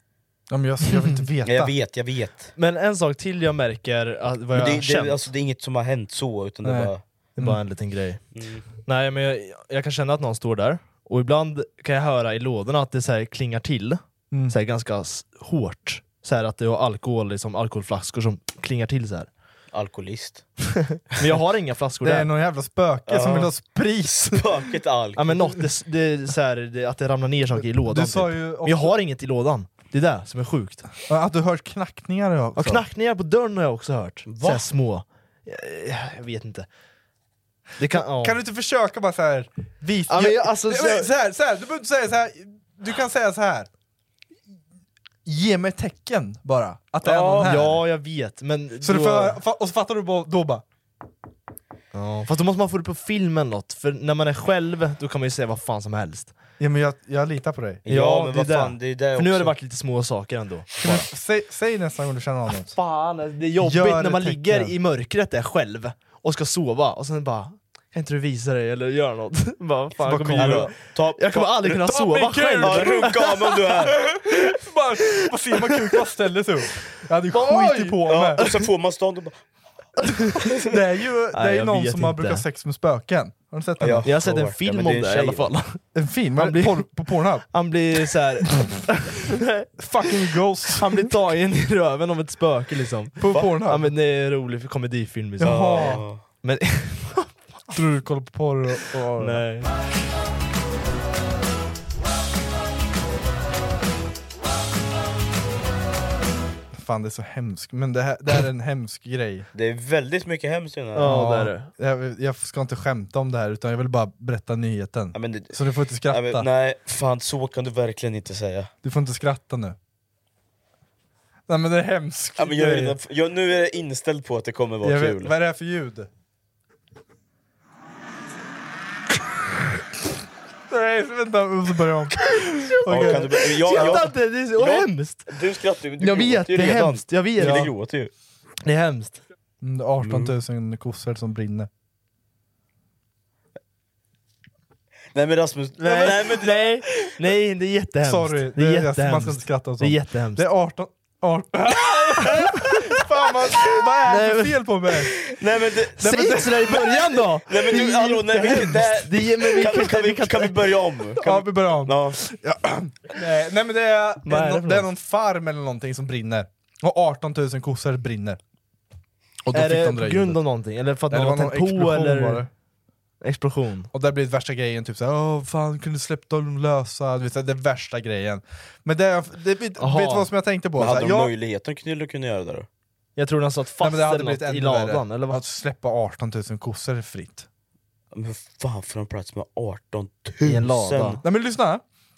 Ja, men jag, jag vill inte veta.
Ja, jag vet, jag vet.
Men en sak till jag märker, att vad
Men
jag har
det,
känt,
det, alltså, det är inget som har hänt så utan det
Nej.
är bara
det är bara en liten grej.
mm.
Nej men jag, jag kan känna att någon står där, och ibland kan jag höra i lådorna att det så här klingar till,
Mm.
så här ganska s- hårt. Så här att det är alkohol, liksom alkoholflaskor som klingar till så här.
alkoholist.
Men jag har inga flaskor
Det är
där.
någon jävla spöke som
Ja.
vill ha sprit.
Spöket alk.
Ja men något, det, s- det, är så här, det, att det ramlar ner saker i lådan
Du sa
typ.
ju
Men jag
också,
har inget i lådan, det är det som är sjukt.
att du hört knackningar också.
Ja, knackningar på dörren har jag också hört. Så här små. Jag, jag vet inte.
Det kan, ja.
Kan du inte försöka bara så här visa...
Ja, men jag- alltså,
Nej,
så-
men så här, så här, du behöver inte säga så här. du kan säga så här. Ge mig tecken bara, att det är någon
ja,
här.
ja, jag vet. Men
Så du
då-
får, fa- och så fattar du bo- då bara,
ja. Fast då måste man få det på film eller något, för när man är själv då kan man ju säga vad fan som helst.
ja men jag, jag litar på dig.
Ja, men vad fan, det är det
För nu har
också.
det vact lite små saker ändå.
Kan du, säg, säg nästa gång du känner honom.
Fan, alltså, det är jobbigt
Gör
när man
ett
ligger
tecken.
i mörkret där själv och ska sova och sen bara kan inte du visa dig eller göra något? bara, fan, jag, kommer
Hallå,
ju,
ta,
jag kommer aldrig kunna sova själv!
Ja, runka av mig om du är!
Bara, vad ser man kuk, bara ställer sig upp. Jag hade ju skitit på mig.
Ja, och så får man stånd och bara...
Det är ju det är
Nej,
ju
jag
någon
vet
som har
inte.
brukat sex med spöken. Har ni sett den?
Ja.
Jag har sett en
Ja, men
film
det
om
är en
det i
tjej.
alla fall.
En film? Man
blir-
Porr, på Pornhub?
Han blir så här,
Fucking ghost.
han blir tagen i röven av ett spöke liksom.
På
Ja
Pornhub?
men det är en rolig komedifilm liksom.
Jaha.
Men,
Tror du kollar på porr och... och
nej.
Fan det är så hemskt. Men det här, det här är en hemsk grej.
Det är väldigt mycket hemskt i den här.
Ja, det är det.
Jag, jag ska inte skämta om det här utan jag vill bara berätta nyheten.
Ja, men det,
Så du får inte
ja, men,
skratta.
nej, fan så kan du verkligen inte säga.
Du får inte skratta nu. Nej men det är hemskt.
Ja, men jag är redan, jag, nu är jag inställd på att det kommer vara
Jag vet,
kul.
vad är det här för ljud? Nej, vänta, jag måste börja om.
ja, kan du, jag,
Skratta
jag,
inte! Det är så
Ja.
hemskt!
du skrattar ju, du
Jag vet,
gråter ju
det är
redan.
hemskt. Jag vet.
Du
Ja.
gråter ju.
Det är hemskt.
Mm, det är 18 000 kossor som brinner.
Nej men Rasmus,
Nej, nej, men, nej, nej, det är jättehemskt.
Sorry,
det är
jag-
jättehemskt.
man ska inte skratta åt
det är
sånt.
jättehemskt.
Det är 18... 18. Fan vad, vad är det för fel på mig?
nej men... Det,
Säg inte sådär i början då!
nej men du, hallå, nej men det, här-
Det är, men vi,
kan, vi- kan, vi, kan vi börja om?
Ja,
Kan vi,
vi börjar om.
ja.
Nej, nej men det är,
Vad är det för
det, är no, det är någon farm eller någonting som brinner. Och 18 000 kossor brinner. Och då
är
fick
det
de det
på
där
grund
ljudet.
av någonting? Eller för att
Nej, det
någon har
var någon
tänt
explosion
på?
eller?
Eller?
var det.
Explosion.
Och där blir det värsta grejen typ såhär Åh fan kunde du släppt dem lösa, du vet, så här, det är värsta grejen Men det, är- det vet, vet du
Aha.
vad som jag tänkte på?
Men
Så
hade
här,
de
jag,
möjligheten kunde de kunna göra det då?
Jag tror den satt
nej,
fast
men det hade
eller något
blivit ännu
i ladan,
värre. Alltså,
eller vad?
Att släppa 18 000 kossor fritt
Men fan får de plats med 18 000?
I en lada.
Nej men lyssna,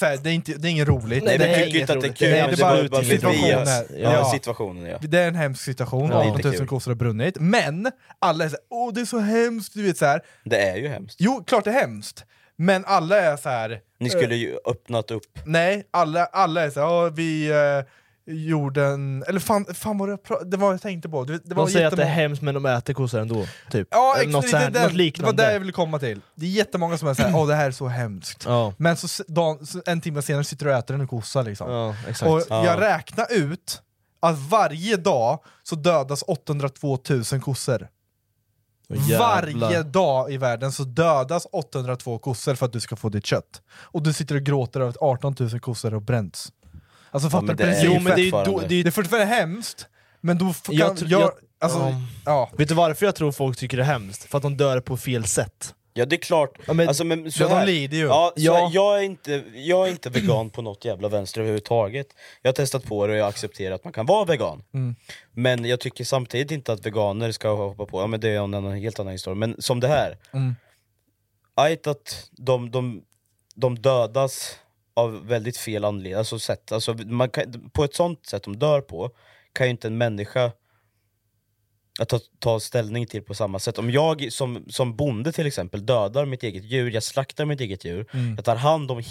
så här, det, är inte, det är inget roligt
Nej,
det,
men
är
tycker
inget
inte att det är
roligt.
kul,
Nej,
det är
det, är
bara
bara
ut- bara
situationen
via-
är-
Ja,
ja.
situationen ja.
det är en hemsk situation,
Ja, det är
18
inte
000
kul.
kossor har brunnit Men alla är såhär, åh det är så hemskt, du vet så här.
Det är ju hemskt.
Jo, klart det är hemskt, men alla är så här.
Ni skulle ju öppnat upp.
Nej, alla, alla är såhär, ja vi eh, gjorde en... Eller fan, fan vad det, pra- det var jag tänkte på. Du vet, Det var
De säger att det är
jättemånga-
hemskt men de äter kossor ändå. Typ.
Ja,
Eller
ex-
något,
det,
så här,
det, det,
något liknande.
Det var det jag ville komma till. Det är jättemånga som är såhär, åh det här är så hemskt.
Ja.
Men så, s- dagen, så en timme senare sitter du och äter en kossa liksom.
Ja, exakt.
och
Ja.
jag räknar ut att varje dag så dödas 802 000 kossor.
Åh, jävlar.
Varje dag i världen så dödas 802 kossor för att du ska få ditt kött. Och du sitter och gråter över att 18 000 kossor har bränts. Alltså fattar
men
du
det är
principen?
ju
Jo men det är ju då,
fortfarande.
det är
Det
ju
är fortfarande hemskt, men då f- kan
Jag
jag...
tr- jag-
alltså,
ja.
ja.
Vet du varför jag tror folk tycker det är hemskt? För att de dör på fel sätt.
Ja det är klart,
Ja, men-
alltså, men så
ja, de
här.
lider ju.
Ja, så
Ja.
här, Jag, är inte, jag är inte vegan på något jävla vänster överhuvudtaget. Jag har testat på det och jag accepterar att man kan vara vegan.
Mm.
Men jag tycker samtidigt inte att veganer ska hoppa på, ja men det är en annan, helt annan historia. Men som det här,
Mm.
ajt att de, de, de dödas av väldigt fel anledning. Alltså, sätt, alltså, man kan, på ett sånt sätt de dör på, kan ju inte en människa att ta, ta ställning till på samma sätt. Om jag som, som bonde till exempel dödar mitt eget djur, jag slaktar mitt eget djur,
Mm.
jag tar hand om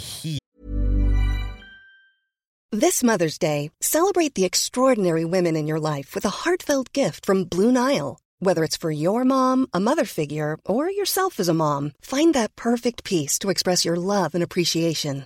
This Mother's Day, celebrate the extraordinary women in your life with a heartfelt gift from Blue Nile. Whether it's for your mom, a mother figure, or yourself as a mom, find that perfect piece to express your love and appreciation.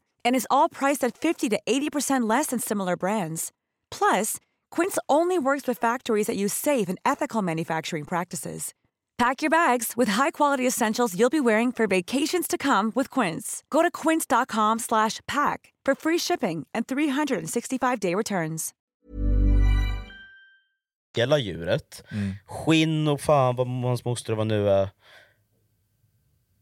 And is all priced at 50 to 80% less than similar brands. Plus, Quince only works with factories that use safe and ethical manufacturing practices. Pack your bags with high-quality essentials you'll be wearing for vacations to come with Quince. Go to quince.com/pack slash pack for free shipping and 365-day returns.
hela djuret,
Mm.
skinn och fan vad hans moster vad nu är.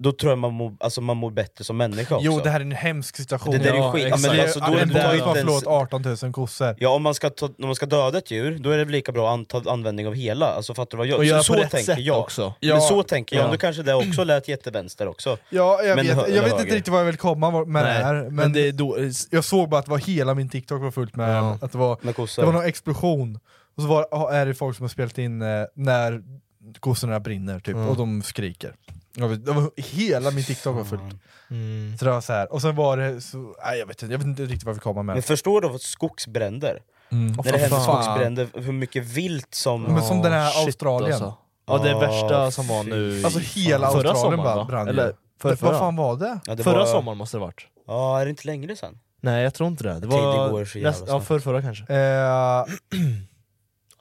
Då tror jag man mår, alltså man mår bättre som människa också.
Jo, det här är en hemsk situation.
Det där är ju
Ja,
skit.
exakt.
Ja, men alltså, då är det
en
där
boy
att
som har
ens-
förlåt 18 000 kossor.
Ja om man ska, ta, om man ska döda ett djur, då är det väl lika bra att anta användning av hela, alltså fattar du vad jag...
Och göra
så
på rätt
tänker
sätt
jag.
också.
Ja.
Men så tänker jag,
Ja.
då kanske det också lät jättevänster också.
Ja, jag
Men
vet,
hö-
jag vet
höger.
inte riktigt vad jag vill komma med det
Nej,
här.
men, det är då,
Jag såg bara att det var hela min TikTok var fullt med
Ja.
att det var,
Med
det var
kossor.
någon explosion, och så var, ja, är det folk som har spelat in eh, när kossorna brinner typ, och de skriker. Jag vet, det var, hela min TikTok var fullt.
Mm.
Så det var så här. och sen var det, så, nej, jag, vet inte, jag vet inte riktigt vad jag vill komma med.
Men förstår du vad skogsbränder? När det
Åh,
händer
fan.
skogsbränder, hur mycket vilt som...
Men som den här
shit,
Australien.
alltså. Ja det
Ah,
värsta som var nu i-
Alltså hela
förra
Australien
sommaren,
bara
va?
brann ju.
Eller för,
Vad fan var det?
Ja, det
förra
var-
sommaren måste det varit.
Ja, är det inte längre sen?
Nej jag tror inte det. Det
Tiden
var
går så jävla
näst, ja,
snabbt.
för, förra kanske.
Eh,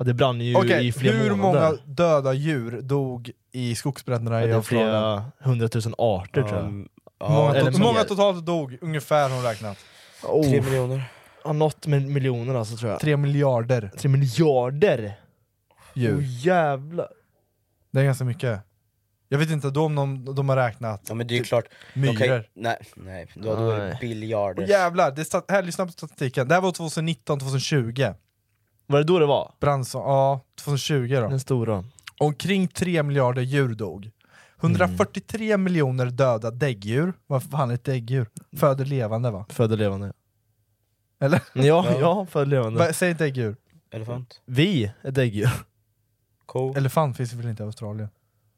Ja, det brann ju
Okej,
i flera
hur
månader.
många döda djur dog i skogsbränderna
Ja,
i
det är
Australien?
flera hundratusen arter tror jag.
Um,
Hur många,
ja,
to-
eller
hur många
mer.
totalt dog ungefär har hon räknat?
tre
Oh,
miljoner.
ja, något med miljoner alltså tror jag.
Tre miljarder
Tre miljarder!
djur.
Oh, jävlar.
Det är ganska mycket. Jag vet inte då om de, de har räknat
Ja men det är ju klart... de kan ju-
myror.
Nej, nej, då då är det
Nej.
Åh
biljarder.
Oh, jävlar, det är stat- här lyssna på statistiken. Det här var 2019, 2020.
Var det då det var?
Branson, ja 2020 då.
Den stora.
Omkring 3 miljarder djur dog. 143
Mm.
miljoner döda däggdjur. Vad fan är ett däggdjur? Föder levande va?
Föder levande.
Eller?
Ja, ja, föder levande.
Va- Säg ett däggdjur.
Elefant,
Vi, ett däggdjur.
ko.
Elefant finns väl inte i Australien?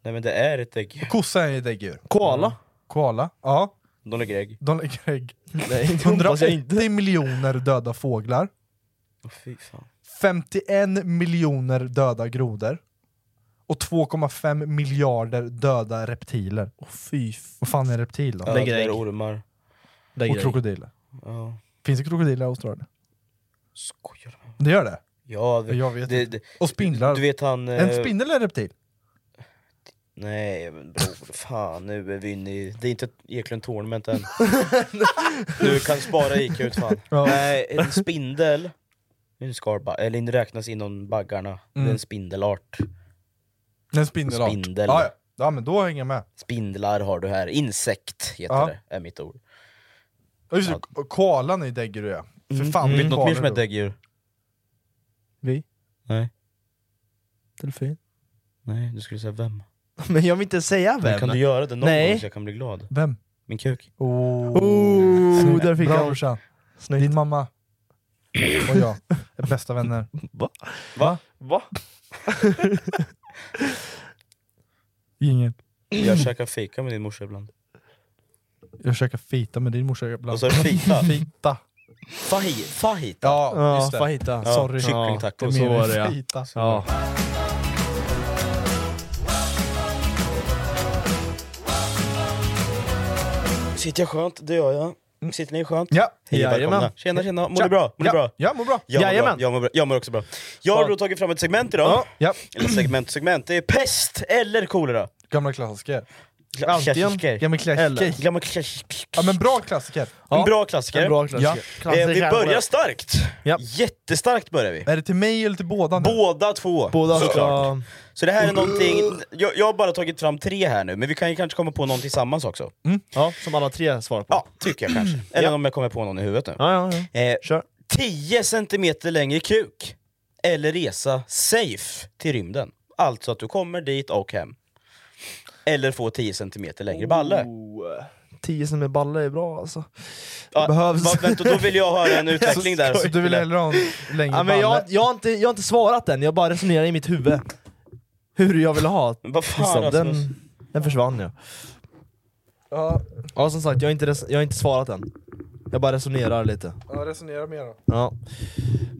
Nej men det är ett ägg. Mm.
Kossa är ett däggdjur.
Koala?
Koala? Ja.
De lägger ägg.
De lägger ägg.
Nej, det hoppas jag inte.
180 miljoner döda fåglar.
Åh fy fan.
51 miljoner döda grodor. Och 2,5 miljarder döda reptiler.
Åh fy
Vad fan är en reptil då?
Lägger
Ödlor,
ägg.
ormar.
Lägg
Och krokodiler.
Ja.
Finns det krokodiler i Australien?
Skojar du?
Det gör det?
Ja, det,
Jag vet
det,
inte.
det,
Och spindlar.
Du vet han... eh,
en spindel är en reptil.
Nej men bror, fan nu är vi inne i... Det är inte ett Eklund Tournament än. du kan spara IQ ut fan.
Ja.
Nej, en spindel... det är En skarpa, eller det räknas inom baggarna. Det är en spindelart.
En spindelart.
Spindel.
Ja, ja. ja, men då hänger jag med.
Spindlar har du här. Insekt heter
Ja.
det, är mitt ord.
Ja, Just det, ko- koalan är ju däggdjur ja.
Mm.
För fan,
Vet Mm. du något mer
koalor
som är
då.
ett däggdjur?
Vi?
Nej.
Delfin?
Nej, du skulle säga vem?
Men jag vill inte säga vem.
Kan du göra det någon
Nej.
gång så jag kan bli glad?
Vem?
Min kuk.
Oh.
Oh, där fick
Bra
jag-
brorsan.
Snyggt.
Din mamma och jag är bästa vänner.
Va?
Va?
Ingen.
Jag käkar fika med din morsa ibland.
Jag käkar fita med din morsa ibland.
Vad sa du? Fita?
Fita.
Fahi, fahita?
Ja,
Ja,
just det.
fajta.
Ja,
Sorry.
Kycklingtacos.
Ja,
Det
så
är mer
var
än
det ja.
Fita.
ja.
Sitter jag skönt? Det gör jag. Sitter ni skönt?
Ja.
Hej och
Jajamän.
välkomna. Tjena tjena, mår
Tja.
du bra? Mår
ja.
du bra?
Ja, mår bra.
Jag mår, bra.
Jajamän.
jag mår bra, jag mår också bra. Jag har då tagit fram ett segment idag,
Ja.
eller segment, segment, det är pest eller kolera.
Gamla klassiker.
Klassiker.
Gamla klassiker.
Gamla klassiker.
Ja men bra klassiker.
En bra klassiker.
En bra
Ja.
klassiker.
Eh, vi börjar starkt.
Ja.
Jättestarkt börjar vi.
Är det till mig eller till båda nu?
Båda två.
Båda
såklart.
ska...
Så det här är någonting, jag, jag har bara tagit fram tre här nu, men vi kan ju kanske komma på någon tillsammans också.
Ja, som alla tre svarar på.
Ja, tycker jag kanske. Eller om jag kommer på någon i huvudet nu.
Ja, ja, ja.
Eh,
Kör.
10 centimeter längre kuk, eller resa safe till rymden. Alltså att du kommer dit och hem. Eller få 10 cm längre balle.
Oh.
10 som är balle är bra alltså.
Ja,
behövs.
va- vänta, då vill jag höra en utveckling där.
Så du vill hellre ha en längre
Ja, men jag,
balle?
jag, har inte, jag har inte svarat än, jag bara resonerar i mitt huvud. Hur jag vill ha
Vad fan,
Tristan, den,
Rasmus?
den försvann ju.
Ja,
Ja som sagt, jag har inte, res- jag har inte svarat än. Jag bara resonerar lite.
ja, resonera mer då.
Ja.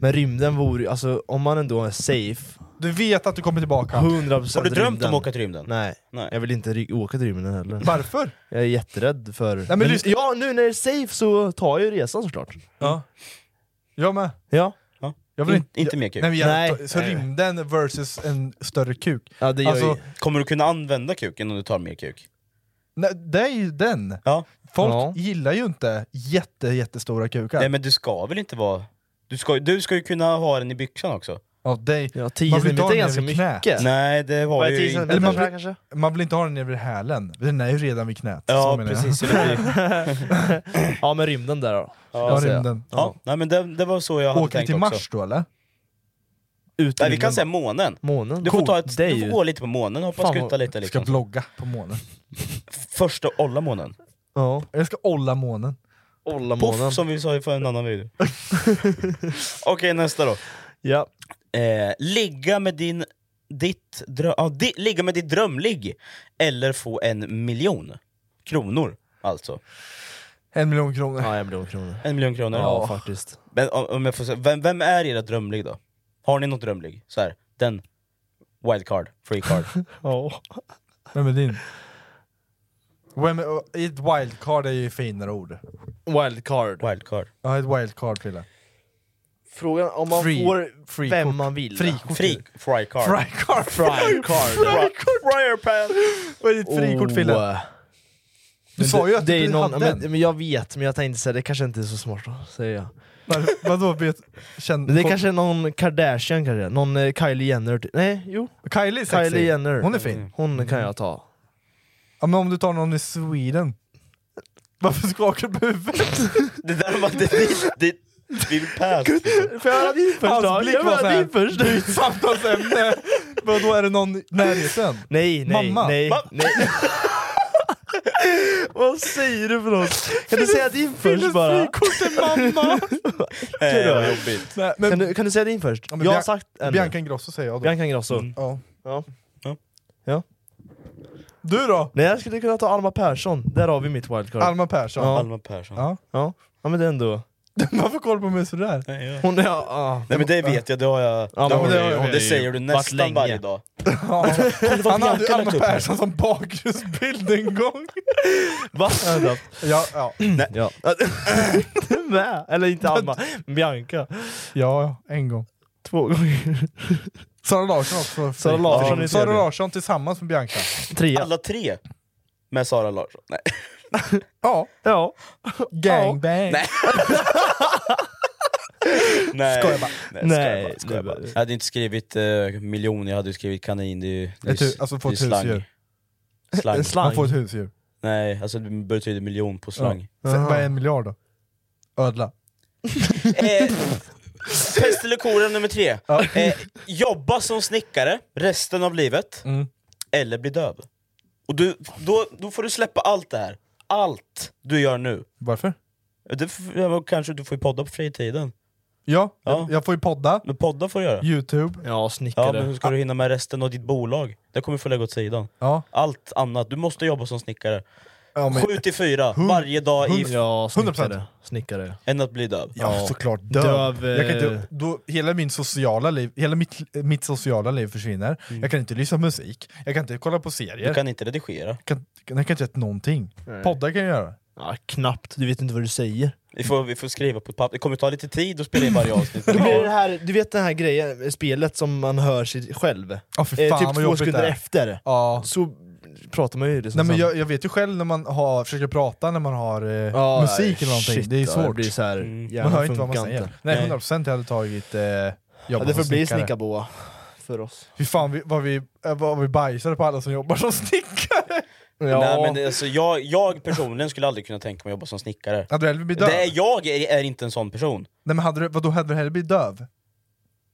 Men rymden vore ju- alltså om man ändå är safe,
Du vet att du kommer tillbaka.
100%
Har du drömt
rymden.
om att åka till rymden?
Nej,
Nej.
jag vill inte ry- åka till rymden heller.
Varför?
Jag är jätterädd för...
men lyssna-
ja, nu när det är safe så tar jag ju resan såklart.
Ja. Jag med.
Ja,
Jag vill
In, inte mer kul.
Nej, men jag,
Nej.
Så rymden versus en större kuk.
ja det gör
Alltså,
jag ju.
Kommer du kunna använda kuken om du tar mer kuk?
nej, det är ju den.
Ja.
Folk
Ja.
gillar ju inte jätte, jättestora kukar.
Nej men du ska väl inte vara... Du ska, du ska ju kunna ha den i byxan också.
Ja, det,
Ja, 10
Man vill
centimeter
ta
är
den
ganska
över knät.
mycket.
Nej det har
Vad är
ju
10
inte.
centimeter
man-
tror jag kanske?
Man vill inte ha den över hälen. Den är ju redan vid knät.
Ja
så menar jag.
precis. Så det blir-
Ja men rymden där då.
Ja,
säger jag.
rymden.
ja, nej, men det, det var så jag hade
Åker vi
tänkt
till Mars
också.
då eller?
Ut i
Nej, vi
rymden
kan
då.
säga månen.
månen.
Du får, ta
Coolt,
ett,
det är
du får
ju-
gå lite på månen, hoppa
Fan,
skutta
vad-
lite
Ska
liksom.
blogga på månen.
Första olla månen.
Ja.
Jag ska olla månen.
Olla månen.
Poff som vi sa i för en annan video. Okej nästa då.
Ja.
Eh, ligga med din... Ditt drö- ja, di- ligga med ditt drömligg. Eller få en miljon kronor. Alltså.
En miljon kronor.
ja, en miljon kronor.
En miljon kronor.
Ja, faktiskt.
Men om, om jag får säga, vem, vem är era drömligg då? Har ni något drömligg? Så här, den wildcard, free card.
Ja.
Vem är din? Vem, ett wildcard är ju finare ord.
Wildcard.
wildcard.
Ja, ett wildcard Frille.
Frågan om man
Free-
får
free
vem
kort.
man vill.
Frikort.
Free, fry card.
Frikort!
Frikort.
Fryer pan.
Vad är ditt frikort Frille?
Åh.
Du sa ju att
det
du
är
inte
någon,
hade
men,
en.
men jag vet, men jag tänkte säga det kanske inte är så smart då, säger jag.
Var- Vadå vet... Känn,
Men det är kanske är någon Kardashian kanske, någon eh, Kylie Jenner. ty- Nej, jo.
Kylie är sexy.
Kylie Jenner.
Hon är fin. Mm.
Hon kan jag ta.
Ja, men om du tar någon i Sweden. Varför skakar du på huvudet?
Det där var inte ditt... ditt vi vill pass. liksom.
För jag hade din
Hans blick var såhär,
först.
Nytt samtalsämne! Vadå Alltså, är det någon i närheten?
Nej, nej,
Mamma.
nej,
Va?
nej. Vad säger du för något? Kan du säga din först bara? Eh,
mamma!
Nej, vad Eh, jobbigt.
Nej,
Kan
men,
du, kan du säga din först?
Ja, men
jag har
Bian-
sagt en.
Bianca Ingrosso säger jag då.
Bianca Ingrosso.
Ja.
Ja.
Du då?
Nej jag skulle kunna ta Alma Persson, där har vi mitt wildcard.
Alma Persson?
Ja.
Alma Persson.
Ja.
Ja. ja men det är ändå...
Varför kollar du på mig sådär?
Nej, ja.
Hon är... Ja,
Nej men det vet jag, det har jag...
Ja,
det,
men
har
det
du
har
ju.
jag ju
det säger du
varit
nästan
länge.
varje dag.
Ja. Han hade ju
Bianca
Alma
lagt upp här.
Persson som bakgrundsbild en gång.
Va?
Ja, ja.
Ja. du med? Eller inte Alma, Bianca.
ja en gång.
Två gånger.
Sara Larsson också.
Sara Larsson är
Sara
trevlig.
Larsson tillsammans med Bianca.
Trea.
Alla tre med Sara Larsson. Nej.
Ja.
Ja.
Gangbang.
Nej. Nej.
Skojar bara.
Nej, skojar
Nej,
bara,
det-
skojar bara. Jag hade inte skrivit eh, miljon, jag hade ju skrivit kanin. Det är ju det är,
Ett hu-
s-
alltså få
det är
ett husdjur.
Slang.
En
Man
slang.
får ett husdjur.
Nej, alltså det betyder miljon på slang.
Sen, vad är en miljard då? Ödla.
Eh, pest eller kolera nummer tre. Eh, jobba som snickare resten av livet,
Mm.
eller bli döv. Och du, då, då får du släppa allt det här. Allt du gör nu.
Varför?
Det, f- ja, kanske du får ju podda på fritiden.
Ja,
Ja.
jag- jag får ju podda,
Men podda får du göra.
youtube,
Ja,
Ja,
snickare.
men hur ska du hinna med resten av ditt bolag? Det kommer du få lägga åt sidan.
Ja.
Allt annat. Du måste jobba som snickare.
Ja, men,
7 till 4 varje dag i f-
Ja,
100%.
snickare. Snickare.
än att bli döv.
ja, såklart döv.
Döv,
jag kan
eh,
inte, då, hela min sociala liv, hela mitt, mitt sociala liv försvinner.
Mm.
Jag kan inte lyssna på musik, jag kan inte kolla på
Du
serier,
kan inte redigera.
kan, jag kan inte göra någonting. Poddar kan jag göra.
Ja, knappt. Du vet inte vad du säger.
Vi får, vi får skriva på ett papper. Det kommer ta lite tid att spela in varje avsnitt.
Det blir det här, du vet det här grejen, spelet som man hör sig själv?
Ja, för
Eh,
fan
typ
vad
två
jobbigt det
sekunder
är.
efter.
Ja.
Så pratar man ju liksom
Nej, men
sen.
jag, jag vet ju själv när man har, försöker prata när man har eh,
Ja,
musik eller någonting,
shit,
det är
ja,
svårt.
blir så här,
man
hjärnan
hör inte vad man
funkar
säger.
inte.
Nej, 100% jag hade tagit eh,
Ja,
jobba
det får
som
bli
snickare.
snickarboa för oss.
Fy fan vi, vad, vi, eh, vad vi bajsade på alla som jobbar som snickare!
Ja.
Nej, men det, alltså, jag, jag personligen skulle aldrig kunna tänka mig att jobba som snickare.
Hade du hellre blivit döv?
Det är, jag är, är inte en sån person.
Nej men hade du, vadå, hade du hellre blivit döv?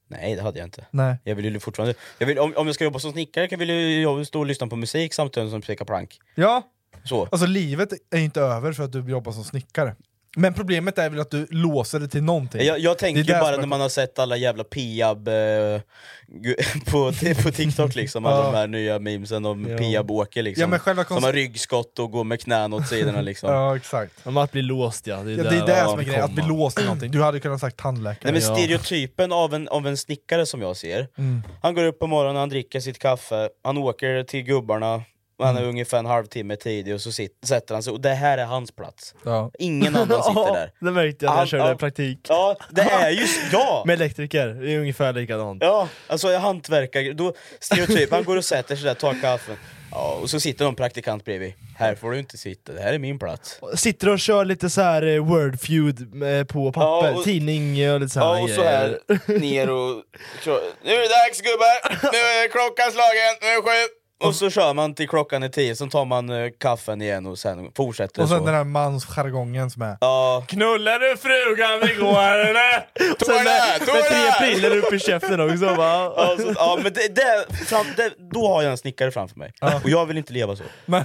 Nej det hade jag inte.
Nej.
Jag vill ju fortfarande, jag vill, om, om jag ska jobba som snickare kan jag vill jag stå och lyssna på musik samtidigt som jag pekar plank.
Ja,
Så.
alltså livet är inte över för att du jobbar som snickare. Men problemet är väl att du låser det till någonting.
Jag, jag tänker
Det
ju
är där
bara
som är-
när man har sett alla jävla Piab eh, gu- på, på TikTok liksom, alla de här nya memesen om Piab åker liksom.
Ja, men själva
Som har ryggskott och går med knän åt sidorna liksom.
Ja, exakt.
Om att bli låst ja, det är
Ja,
där,
det är det
man
som är
vill
grejen, att bli
komma.
låst i någonting. Du hade kunnat sagt tandläkare.
Nej men stereotypen av en, av en snickare som jag ser, han går upp på morgonen, han dricker sitt kaffe, han åker till gubbarna, han är ungefär en halvtimme tidig och så sit, sätter han sig, och det här är hans plats.
Ja.
Ingen annan sitter där.
Det märkte jag när
All-
jag körde
all-
praktik.
Ja, det är ju... s- Ja!
Med elektriker, det är ungefär likadant.
Ja, alltså jag hantverkar, då stereotyp, han går och sätter sig där, tar kaffen. Ja, och så sitter någon praktikant bredvid. Här får du inte sitta, det här är min plats.
Sitter och kör lite så här eh, word feud eh, på papper,
och-
tidning eh, och lite så här
Ja, och så
grejer.
här ner och... Nu är det dags gubbar! Nu är klockan slagen, nu är det sju! Och så kör man till klockan är tio, sen tar man eh, kaffen igen och sen fortsätter
Och sen
så.
den här mansjargongen som är...
Ja,
Knullade frugan igår eller? Sen med,
Tog
med tre
det!
priller upp i käften också va?
ja, så, ja men det, det, fram, det, då har jag en snickare framför mig. Och jag vill inte leva så.
nej,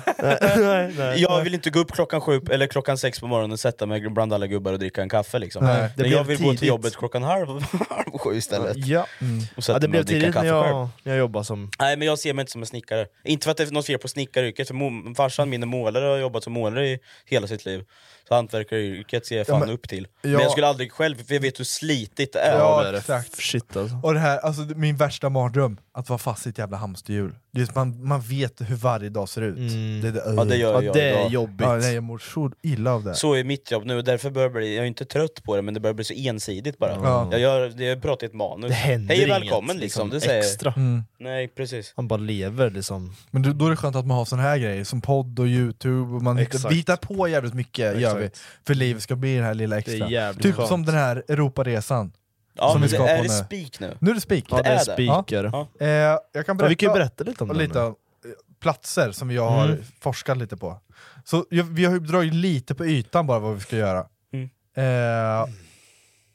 nej.
Jag vill inte gå upp klockan sju eller klockan sex på morgonen och sätta mig bland alla gubbar och dricka en kaffe liksom.
Nej,
det
Men
blev
jag vill gå
tidigt.
till jobbet klockan halv, halv sju istället.
Ja. mm.
Och sätta
ja, det
mig
blev
och dricka
tidigt
kaffe
när
själv.
jag, när jag jobbade som...
Nej men jag ser mig inte som en snickare. Inte för att det är något fel på snickaryrket, för mo- farsan min är målare och har jobbat som målare i hela sitt liv. Så hantverkaryrket ser jag fan upp till. Men jag skulle aldrig själv, för jag vet hur slitigt det är.
Ja, exakt.
Shit alltså.
Och det här, alltså det- min värsta mardröm, att vara fast i ett jävla hamsterhjul. Det är, man, man vet hur varje dag ser ut.
Mm.
Det, är
Ja,
Ja,
det gör jag
det är
idag.
jobbigt.
Ja, nej, jag mår så illa av det.
Så är mitt jobb nu, och därför börjar det bli, jag är inte trött på det men det börjar bli så ensidigt bara.
Ja.
Jag, gör, det- jag pratar i ett manus.
det händer
Hej och
inget
välkommen liksom, det säger
extra.
Mm.
Nej precis.
Han bara lever liksom.
Men då, då är det skönt att man har sån här grejer, som podd och youtube, och man hittar,
Exakt.
vi hittar på jävligt mycket gör vi, för livet ska bli den här lilla
Det är
extra.
jävligt
Typ
skönt.
som den här Europaresan.
Ja,
Som
men
vi
det,
ska på
är det
nu.
spik nu?
Nu är det spik.
Ja, det är
är det.
speaker.
Ja.
Eh, jag kan
Ja,
berätta,
vi kan ju berätta lite om Mm. det.
lite
nu.
om eh, platser som jag har forskat lite på. Så jag, vi har ju dragit lite på ytan bara vad vi ska göra.
Mm.
Eh,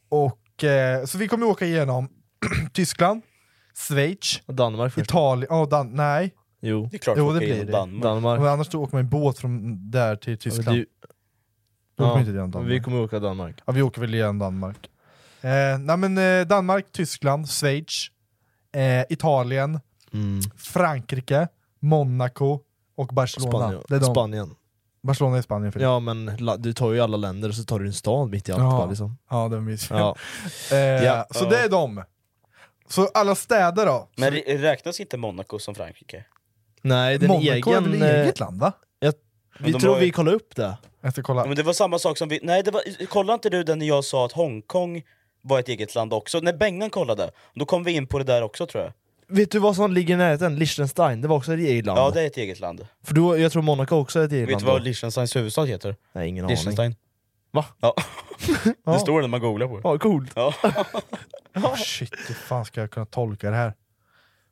och, eh, så vi kommer ju åka igenom Tyskland, Schweiz,
Och Danmark först.
Italien, oh, Dan- nej.
Jo.
Det är klart
Jo,
vi
det
åker
blir
genom
det.
Danmark.
Danmark.
Men annars så åker man ju båt från där till
Ja,
Tyskland.
det-
Då åker
ja,
man inte igenom Danmark.
Vi kommer åka Danmark.
Ja, vi åker väl igenom Danmark. Eh, nej men eh, Danmark, Tyskland, Schweiz, eh, Italien,
Mm.
Frankrike, Monaco och Barcelona.
Spanien.
Det är de.
Spanien.
Barcelona är Spanien för
Ja men la- du tar ju alla länder och så tar du en stad mitt i allt
Ja.
bara, liksom.
ja det är mysigt.
Ja.
Eh,
Ja.
Så det är de. Så alla städer då?
Men rä- räknas inte Monaco som Frankrike?
Nej, den
Monaco är
egen...
väl
eh,
eget land va?
Vi
de
tror
har ju-
vi kollar upp det.
Jag ska kolla.
Ja, men det var samma sak som vi... Nej, det var... kolla inte du den när jag sa att Hongkong var ett eget land också? När Bengan kollade, då kom vi in på det där också tror jag.
Vet du vad som ligger i närheten? Liechtenstein, det var också ett eget land.
Ja, det är ett eget land.
För då, jag tror Monaco också är ett eget
Vet
land.
du
då.
vad Liechtensteins huvudstad heter?
Nej, ingen aning.
Liechtenstein.
Va?
Ja. Det står det när man googlar på det.
Ja, coolt.
Ja.
Ah, shit, hur fan ska jag kunna tolka det här?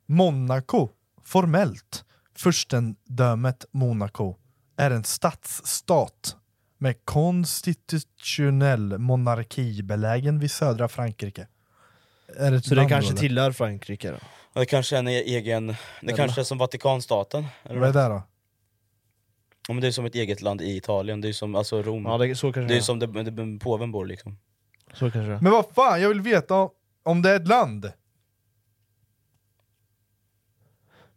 Monaco, formellt, furstendömet Monaco, är en stadsstat med konstitutionell monarki belägen vid södra Frankrike. Är det ett
Så det
land
kanske
då,
tillhör Frankrike då?
Det kanske är en e- egen... Det kanske är som Vatikanstaten.
eller? Vad är det då?
Ja, men det är som ett eget land i Italien, det är som alltså Rom.
Ja, det, så kanske
Det är som där där påven bor liksom.
Så kanske det är.
Men vad fan, jag vill veta om- om det är ett land!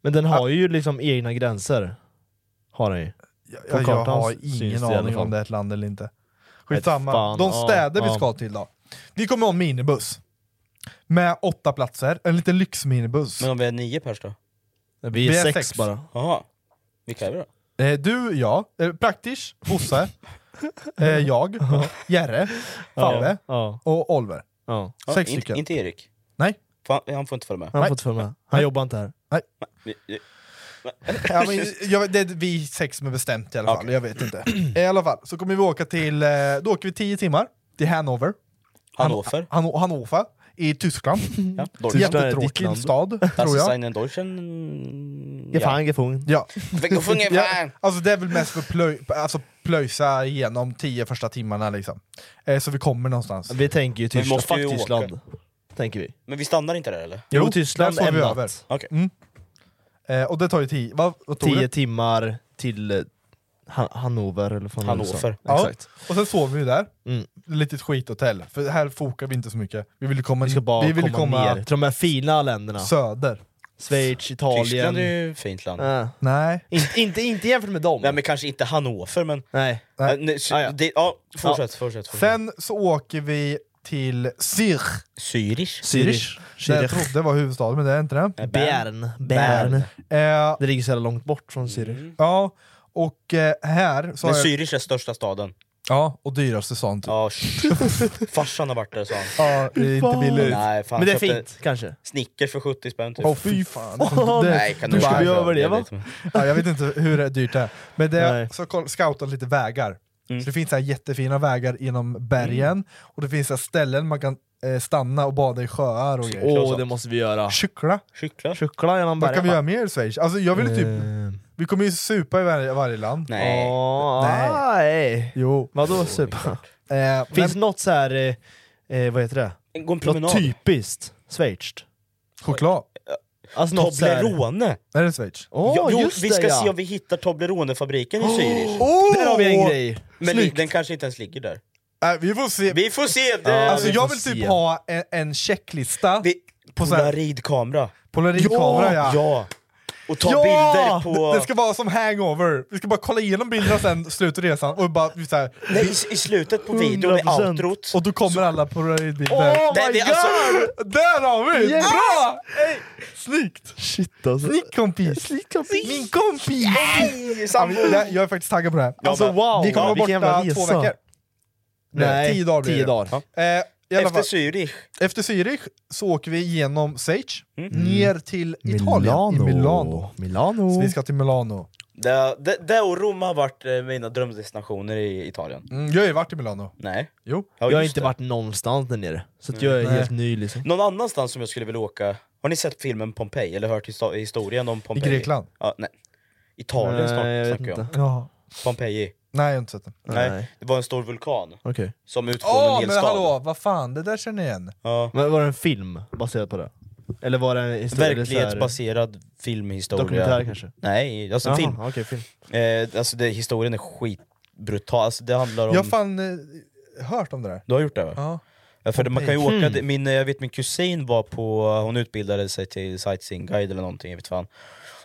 Men den har ju liksom egna gränser. Har den ju.
Jag,
På
jag, jag
kartan
har
syns det i
ingen
alla
aning
fall.
om det är ett land eller inte.
Vet
Skitsamma.
fan,
De
ja,
städer vi
ja.
ska till då. Vi kommer ha en minibuss. Med åtta platser, en liten lyxminibuss.
Men om vi är nio pers då?
Vi är, sex, bara.
Jaha. Vilka är vi då?
Eh, du, jag, eh, Praktisch, Bosse, eh, jag, Jerre, Fabbe
Ja,
och Oliver.
ja.
Ja,
Sex
inte,
stycken.
inte Erik.
Nej.
Fan, han får inte följa med.
Han har
Nej.
fått för mig. Han jobbar inte här.
Vi- vi-
Ja, men, jag, det är vi sex som är bestämt i alla fall, jag vet inte. Eh, I alla fall, så kommer vi åka till, eh, då åker vi tio timmar till Hannover,
Hannover.
Han, Mm. Hannover i Tyskland.
Ja, Deutschland.
Tyskland är ditt
Jättetråkig
land. Alltså,
stad,
Das
tror
ist
jag.
einen Deutschen...
Gefangen, gefangen.
Ja.
Gefangen,
Ja, alltså det är väl mest för att plöj, alltså plöjsa igenom tio första timmarna liksom. Eh, så vi kommer någonstans.
Vi tänker ju
Men vi
Tyskland,
måste ju
fuck
åka.
Tyskland. tänker vi.
Men vi stannar inte där eller?
Jo, Tyskland
där sov
en
vi
natt.
över.
Okej.
Mm. Eh, och det tar ju tio, vad, vad tog
Tio
det?
timmar till eh, Han- Hannover eller vad fan det
Hannover.
sa.
Ja.
Exakt.
Och sen sov vi ju där,
Mm.
litet skithotell, för här fokar vi inte så mycket. Vi vill ju komma,
Vi ska bara
vi vill
komma, ner till de här fina länderna.
söder.
Schweiz, Italien.
Tyskland är ju ett fint land.
Äh.
Nej.
Inte, inte, inte jämfört med dem.
Nej men kanske inte Hannover men...
Nej.
Nej.
Äh, nej, sy-
Ah, ja.
det, ja, fortsätt, fortsätt, fortsätt.
Sen så åker vi till Zürich,
Zürich?
Zürich.
det jag
Zürich.
trodde var huvudstaden men det är inte det.
Nej, Bern.
Bern. Bern.
Eh,
Det ligger så jävla långt bort från Zürich.
ja, och eh, här så
Men
har jag,
Zürich är största staden.
Ja, och dyraste sånt. Ja,
Ja, sh- Farsan har varit där sa han.
det är inte billigt.
Nej, fan,
Men det är
köpte
fint, kanske.
Snickers för 70 spänn typ.
Åh fy fan. Det-
Nej, kan
Hur ska
bara-
vi överleva?
Jag vet inte.
Ja, jag vet inte hur det är dyrt det är. Men det
Nej. Mm.
är så koll- scoutat lite vägar. Så det finns så här jättefina vägar genom bergen, och det finns så här ställen man kan eh, stanna och bada i sjöar och grejer.
Åh, det måste vi göra.
Kyckla.
Kycklar?
Kyckla genom
Vad
bergen.
kan vi
va?
göra mer i Schweiz? Alltså jag ville typ,
Eh,
vi kommer ju supa i varje, varje land.
Nej.
åh,
Nej.
ah, Nej.
Jo.
Vadå supa?
Eh,
Finns
Finns
det något så här, eh, eh, vad heter det?
Gå en
Något
promenad.
typiskt schweiziskt?
choklad.
Alltså något så här-
Toblerone!
Är det Schweiz?
Åh,
Ja, jo,
just
vi ska
det, ja.
se om vi hittar Toblerone-fabriken i Zürich.
Där har vi en grej!
Men den kanske inte ens ligger där.
Nej, Äh, vi får se.
Vi får se! Det...
Ja,
alltså
vi
jag
får
vill typ
se.
ha en, en checklista
vi...
på så här-
Polaroidkamera.
Polaroidkamera ja!
ja. Och ta bilder på...
Det- Det ska vara som hangover, vi ska bara kolla igenom bilderna sen, slut av resan, och bara så här,
Nej, i, i slutet på videon, i
100%.
outrot.
och Oh då kommer alla polaroidbilder.
Åh,
Nej, det är alltså...
Där har vi!
Yes!
Bra! Hey, snyggt!
Shit alltså.
Snyggt kompis! Min kompis!
Nej,
Ja,
sambo.
men Jag, jag är faktiskt taggad på det här.
Alltså wow!
vi kommer
Ja,
vara
vilken
borta
jävla
två
resa.
veckor.
Nej,
Tio dagar blir
tio
det.
dagar.
Eh, i alla
Efter
fall,
Zürich.
efter Zürich så åker vi genom Schweiz, ner till Italien,
Mm. Milano.
i Milano.
Milano.
Så vi ska till Milano.
Det, det, det och Rom har varit eh, mina drömdestinationer i Italien.
Mm, jag har ju varit i Milano.
Nej.
Jo.
Ja,
jag har
just
inte
det.
varit någonstans där nere, så att jag är
Nej.
helt ny liksom.
Någon annanstans som jag skulle vilja åka... Har ni sett filmen Pompeji? Eller hört histo- historien om
I
Pompeji?
Grekland.
Ja, nej. Italien snart
Nej, Eh, jag vet
snackar jag om.
inte.
Ja.
Pompeji.
Nej, jag har inte sett den.
Nej.
Nej.
Det var en stor vulkan
Okej.
som utplånade
Åh,
en hel
men
stad.
hallå, vad fan, det där känner jag igen.
Ja.
Men var det en film baserad på det? Eller var det en historia? eller så här-
Verklighetsbaserad filmhistoria.
Dokumentär kanske?
Nej, alltså
Jaha,
film.
Okej, film.
Eh, alltså det, historien är skitbrutal. Alltså det handlar om...
Jag har fan eh, hört om det där.
Du har gjort det va?
Ja.
Ja, för man kan ju
Mm.
åka, di- min, eh, jag vet min kusin var på, hon utbildade sig till sightseeingguide eller någonting, jag vet fan.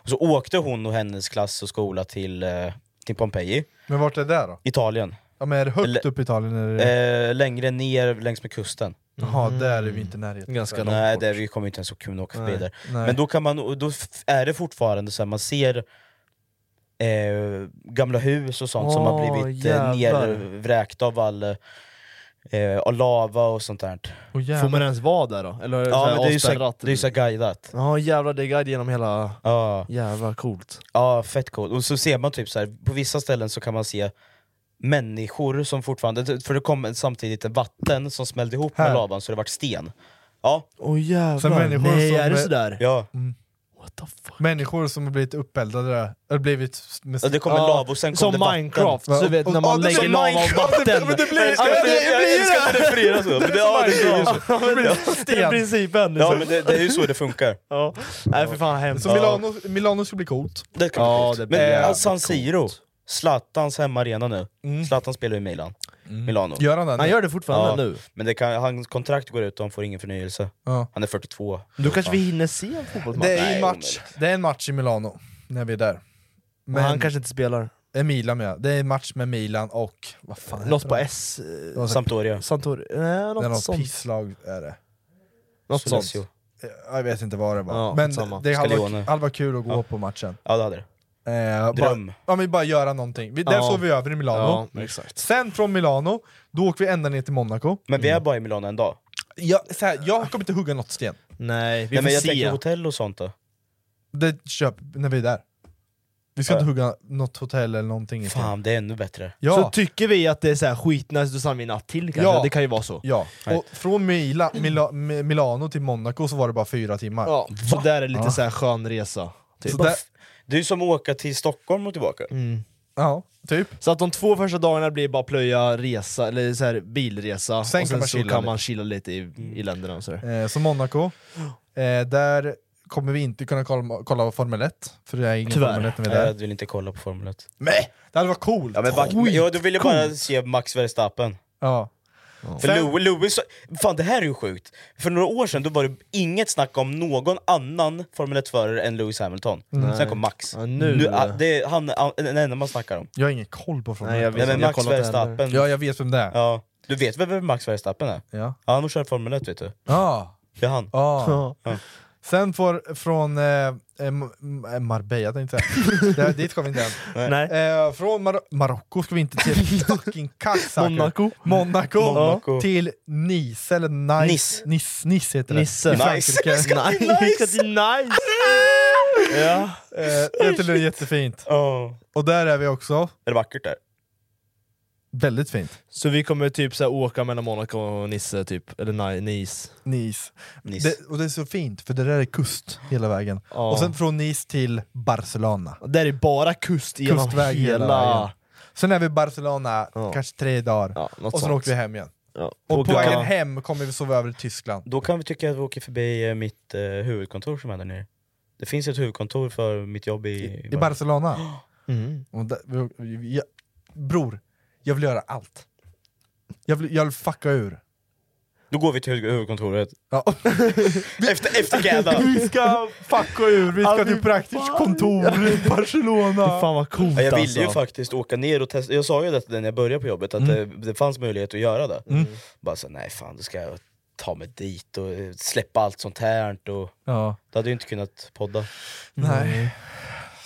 Och så åkte hon och hennes klass och skola till, eh, till Pompeji,
Men vart är det där då?
Italien.
Ja, men är det högt
Eller-
upp i Italien? Eller?
Mm.
Eh, längre ner längs med kusten.
Jaha, där är vi inte i närheten.
Ganska långt
Nej,
bort.
det, vi kommer inte ens att kunna åka förbi
Nej,
där.
nej.
Men då, kan man, och då f- är det fortfarande så här, man ser eh, gamla hus och sånt som har
Åh,
blivit eh,
jävlar.
nervräkta av all eh, av lava och sånt där.
Åh, jävlar.
Får man ens vara där då? Eller är det så
Ja,
här typ.
men det är ju så, här-
avspärrat?
det är ju så här guidat.
Ja jävlar, det är guide genom hela...
Ja.
Jävlar coolt.
Ja, fett coolt. Och så ser man typ så här, på vissa ställen så kan man se människor som fortfarande, för det kom samtidigt ett vatten som smällde ihop
Här.
med lavan så det vart sten. Ja,
Åh jävlar.
Sen människor
Nej,
som
är det
är-
sådär?
ja.
What the fuck?
Människor som har blivit uppeldade där, eller blivit... Med...
ja det kom en
Ja,
lava och sen kom
Som
det vatten.
Minecraft, så du vet när
Ja,
man
det är
lägger
Alltså,
som
lava och
Minecraft.
vatten.
Men det blir-
Ja,
Jag älskar-
det-
Jag älskar att det refererar så! Men det, ja, det blir ju så.
det blir
sten.
Det är principen
Ja
liksom.
men det, det är ju så det funkar.
Ja. Nej för fan hemskt.
Så Milano, Milano ska bli coolt.
Det kan
Ja,
ja,
det
det
blir
Men
jävligt
ja, San Siro, Zlatans hemmaarena nu.
Mm.
Zlatan spelar i Milan. Milano.
Gör han det?
Han
nu?
gör det fortfarande
Ja.
nu.
Men det kan, hans kontrakt går ut och han får ingen förnyelse.
Ja.
Han är 42.
Då kanske vi hinner se en fotbollsmatch.
Det är,
Nej,
en match. det är en match i Milano, när vi är där.
Men
Men
han kanske inte spelar.
det är Milan med. Det är en match med Milan och... Vad fan heter
Något på
de?
S... eh,
Sampdoria.
Santor... Nej,
Det är
något
något
sånt.
pisslag är det.
Något sånt.
Sonesio.
Eh, Jag vet inte vad det var.
Ja, skitsamma.
men det hade
Scalione.
varit- hade varit kul att gå
Ja.
på matchen.
Ja det hade det.
Eh,
Dröm.
Bara, ja men bara göra någonting. Vi, där
Ja.
sov vi över i Milano.
Ja, exakt.
Sen från Milano, då åker vi ända ner till Monaco.
Men vi är bara i Milano en dag.
Jag, så här, jag kommer inte hugga något sten.
Nej, vi
Nej,
får
men jag tänker
se.
hotell och sånt då.
Det köp när vi är där. Vi ska
Ja.
inte hugga något hotell eller någonting. i sten.
Fan, det är ännu bättre.
Ja,
Så tycker vi att det är så här skitnice, då stannar vi en natt till kanske.
Ja.
Det kan ju vara så.
ja. Och från Mila, Mila, Mi- Milano till Monaco så var det bara fyra timmar.
Ja. Så där är det lite så här skön resa. Typ.
Så där,
Det är ju som att åka till Stockholm och tillbaka.
Mm.
Ja, typ.
Så att de två första dagarna blir bara plöja, resa, eller så här, bilresa, och
Sen kan
sen
man
så
chilla
kan
lite.
man chilla lite i, i länderna och så där.
Eh, så Monaco, eh, där kommer vi inte kunna kolla, kolla Formel 1, för det är ingen
Tyvärr.
Formel 1 när vi är där.
Jag vill inte kolla på Formel 1.
Nej, det hade varit coolt!
Eh. Ja, men back,
Skit-
jag ville bara se Max Verstappen.
ja.
För Lewis, Lewis, fan det här är ju sjukt. För några år sedan då var det inget snack om någon annan Formel 1-förare än Lewis Hamilton. Sen kom Max.
Ja, nu-
ah, det är han ah, den enda man snackar om.
Jag har ingen koll på Formel
Nej, jag
1.
Nej,
vet
men
inte, jag
Max
kollar inte heller.
Verstappen.
Ja, jag vet vem det är.
Ja. Du vet väl vem Max Verstappen är?
Ja.
Ja, han kör Formel 1 vet du.
Ja.
Det är han.
Ja.
Ja.
Sen får, från eh, eh, M- M- Marbella tänkte jag säga. Där- Dit kom vi inte än.
Nej.
Eh, från Mar Marocko ska vi inte till fucking Kazaker.
Monaco.
Monaco.
Monaco.
Till Nice, eller Nice.
Nice.
Nice, nice heter det.
Nisse.
I Frankrike.
Nice! Nice! nice. ja.
Eh, det är tydligen jättefint.
Oh.
Och där är vi också.
Är det vackert där?
Väldigt fint.
Så vi kommer typ så här, åka mellan Monaco och Nisse, typ. eller Ni- Nice.
Nice.
Nice.
Det, och det är så fint, för det där är kust hela vägen.
Ja.
Och sen från Nice till Barcelona.
Där är bara kust genom
Kustväg hela
hela...
vägen. Sen är vi i Barcelona
Ja.
kanske tre dagar,
Ja, något
och sen
sånt.
åker vi hem igen.
Ja.
Och på vägen
ja.
hem kommer vi sova över i Tyskland.
Då kan vi tycka att vi åker förbi eh, mitt eh, huvudkontor som är där nere. Det finns ett huvudkontor för mitt jobb i...
I Barcelona.
Mm.
Och där, vi, vi, vi, jag, bror, jag vill göra allt. Jag vill, jag vill fucka ur.
Då går vi till huvud- huvudkontoret.
Ja.
Efter, efter Gädda.
vi ska fucka ur, vi ska till praktiskt kontor i
Fan
Barcelona.
vad coolt
Ja, jag ville
alltså.
ju faktiskt åka ner och testa, jag sa ju det till dig när jag började på jobbet, att
Mm.
det, det fanns möjlighet att göra det. Bara så nej fan, då ska jag ta mig dit och eh, släppa allt sånt här. Och,
Ja.
då hade jag inte kunnat podda.
Nej.
Mm.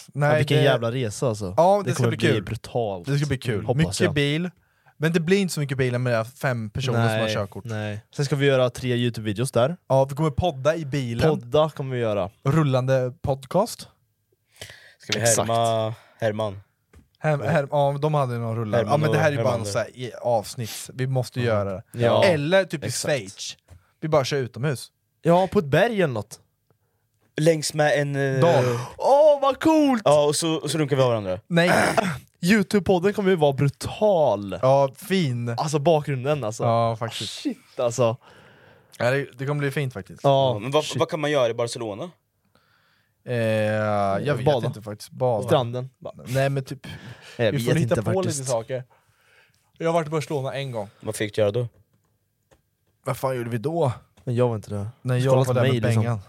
Ja,
Nej,
vilken
det-
jävla resa alltså.
Ja, det ska
kommer
bli
bli
kul.
brutalt.
Det ska bli kul.
Hoppas
mycket
jag.
bil, men det blir inte så mycket bilar med fem personer som har
Nej,
körkort.
Nej. Sen ska vi göra tre Youtube-videos där.
Ja, vi kommer podda i bilen,
Podda kommer vi göra.
rullande podcast.
Ska vi
Exakt.
härma Herman?
Här, här, ja, de hade någon rullare. Ja,
Herman
men det
och
här är ju bara
Herman
något
där.
så här i- avsnitt, vi måste göra det.
Ja.
Eller typ i
Exakt.
Schweiz, vi bara kör utomhus.
Ja, på ett berg eller något.
Längs med en... eh,
Dal.
Åh vad coolt!
Ja, och så, och så runkar vi av varandra.
Nej!
Youtube-podden kommer ju vara brutal.
Ja, fin.
Alltså bakgrunden alltså.
Ja, faktiskt.
Shit alltså.
Ja, det, det kommer bli fint faktiskt.
Ja,
Ja, Mm, men vad,
shit.
vad kan man göra i Barcelona?
Eh, jag vet
Bada.
inte faktiskt. Bada.
Stranden.
Nej men typ,
Jag
vi får hitta på lite saker. Jag har varit i Barcelona en gång.
Vad fick du göra då?
Vad fan gjorde vi då?
Men jag var inte det.
När
Du
jag
kollar
var
på
där
mig,
med
liksom.
Bengan.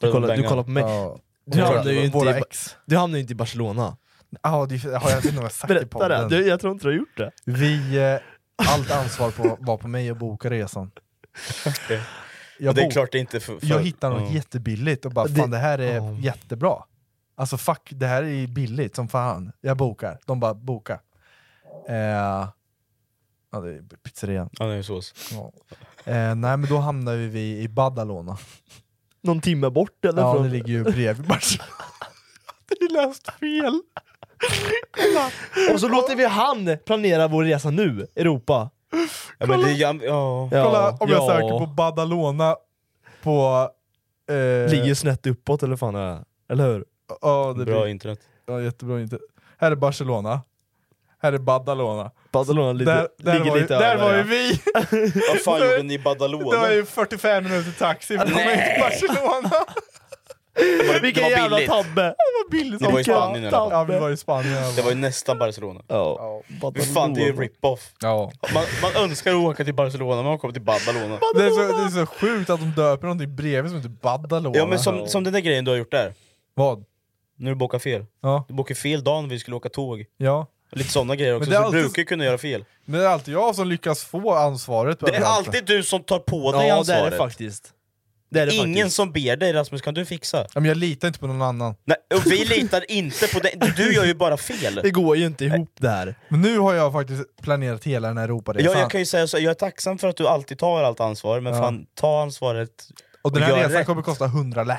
Du kollar, du kollar på mig.
Ja.
Du
Våra-
hamnade ju inte
våra
i-
ex.
Du hamnade ju inte i Barcelona.
Ja, det har jag inte något sagt i
Berätta det,
podden.
Du, jag tror inte du har gjort det.
Vi, eh, allt ansvar på, var på mig att boka resan. jag,
det är
bok-
klart det inte för, för...
jag hittade något jättebilligt och bara fan
Det-
det här är
Ja.
jättebra. Alltså fuck, det här är billigt som fan. Jag bokar. De bara boka. Eh, ja, det är pizzerian.
Ja, det är sås.
Ja. Eh, nej men då hamnade vi i Badalona.
Någon timme bort eller?
Ja,
från...
det ligger ju bredvid Barcelona. Det är läst fel.
Och så låter vi han planera vår resa nu, Europa.
Ja, men det, ja, ja.
Ja,
Kolla om jag
ja.
söker på Badalona på... Eh,
Ligger ju snett uppåt eller fan är det? Eller hur?
ja, det blir
Bra internet.
Ja, jättebra inte. Här är Barcelona. Här är Badalona.
Barcelona li-
Där, där,
ligger
var, ju,
lite
där var
över.
ju
ja.
vi!
Vad fan gjorde ni i
Det var
Badalona?
ju 45 minuter taxi för att komma in till Barcelona.
Vilken
Det var
jävla
billigt.
tabbe!
Vad billigt
Ni var i
som fan.
Spanien i alla fall.
Ja, vi var i Spanien. i alla
Det
fall.
var ju nästan Barcelona.
Ja.
Fy fan, det är ju
Badalona.
rip-off.
Ja.
Man, man önskar att åka till Barcelona, men man kommer till Badalona.
Det är, så, det är så sjukt att de döper någonting bredvid som heter Badalona.
Ja men som, som den där grejen du har gjort där,
Vad?
när du bokar fel.
Ja.
Du bokar fel dagen vi skulle åka tåg.
ja.
Och Lite sådana grejer också,
det är
så
alltid-
du brukar ju kunna göra fel.
Men det är alltid jag som lyckas få ansvaret.
Det är alltid du som tar på dig
Ja det
ansvaret.
är det faktiskt. Det är det
Ingen
faktiskt.
som ber dig Rasmus, kan du fixa?
Ja, men jag litar inte på någon annan.
Nej, och vi litar inte på dig, du gör ju bara fel.
Det går ju inte ihop det här.
Men nu har jag faktiskt planerat hela den här Europaresan.
Jag, jag kan ju säga så, jag är tacksam för att du alltid tar allt ansvar, men fan ta ansvaret.
och den här
gör
resan
rätt.
kommer kosta 100 lä.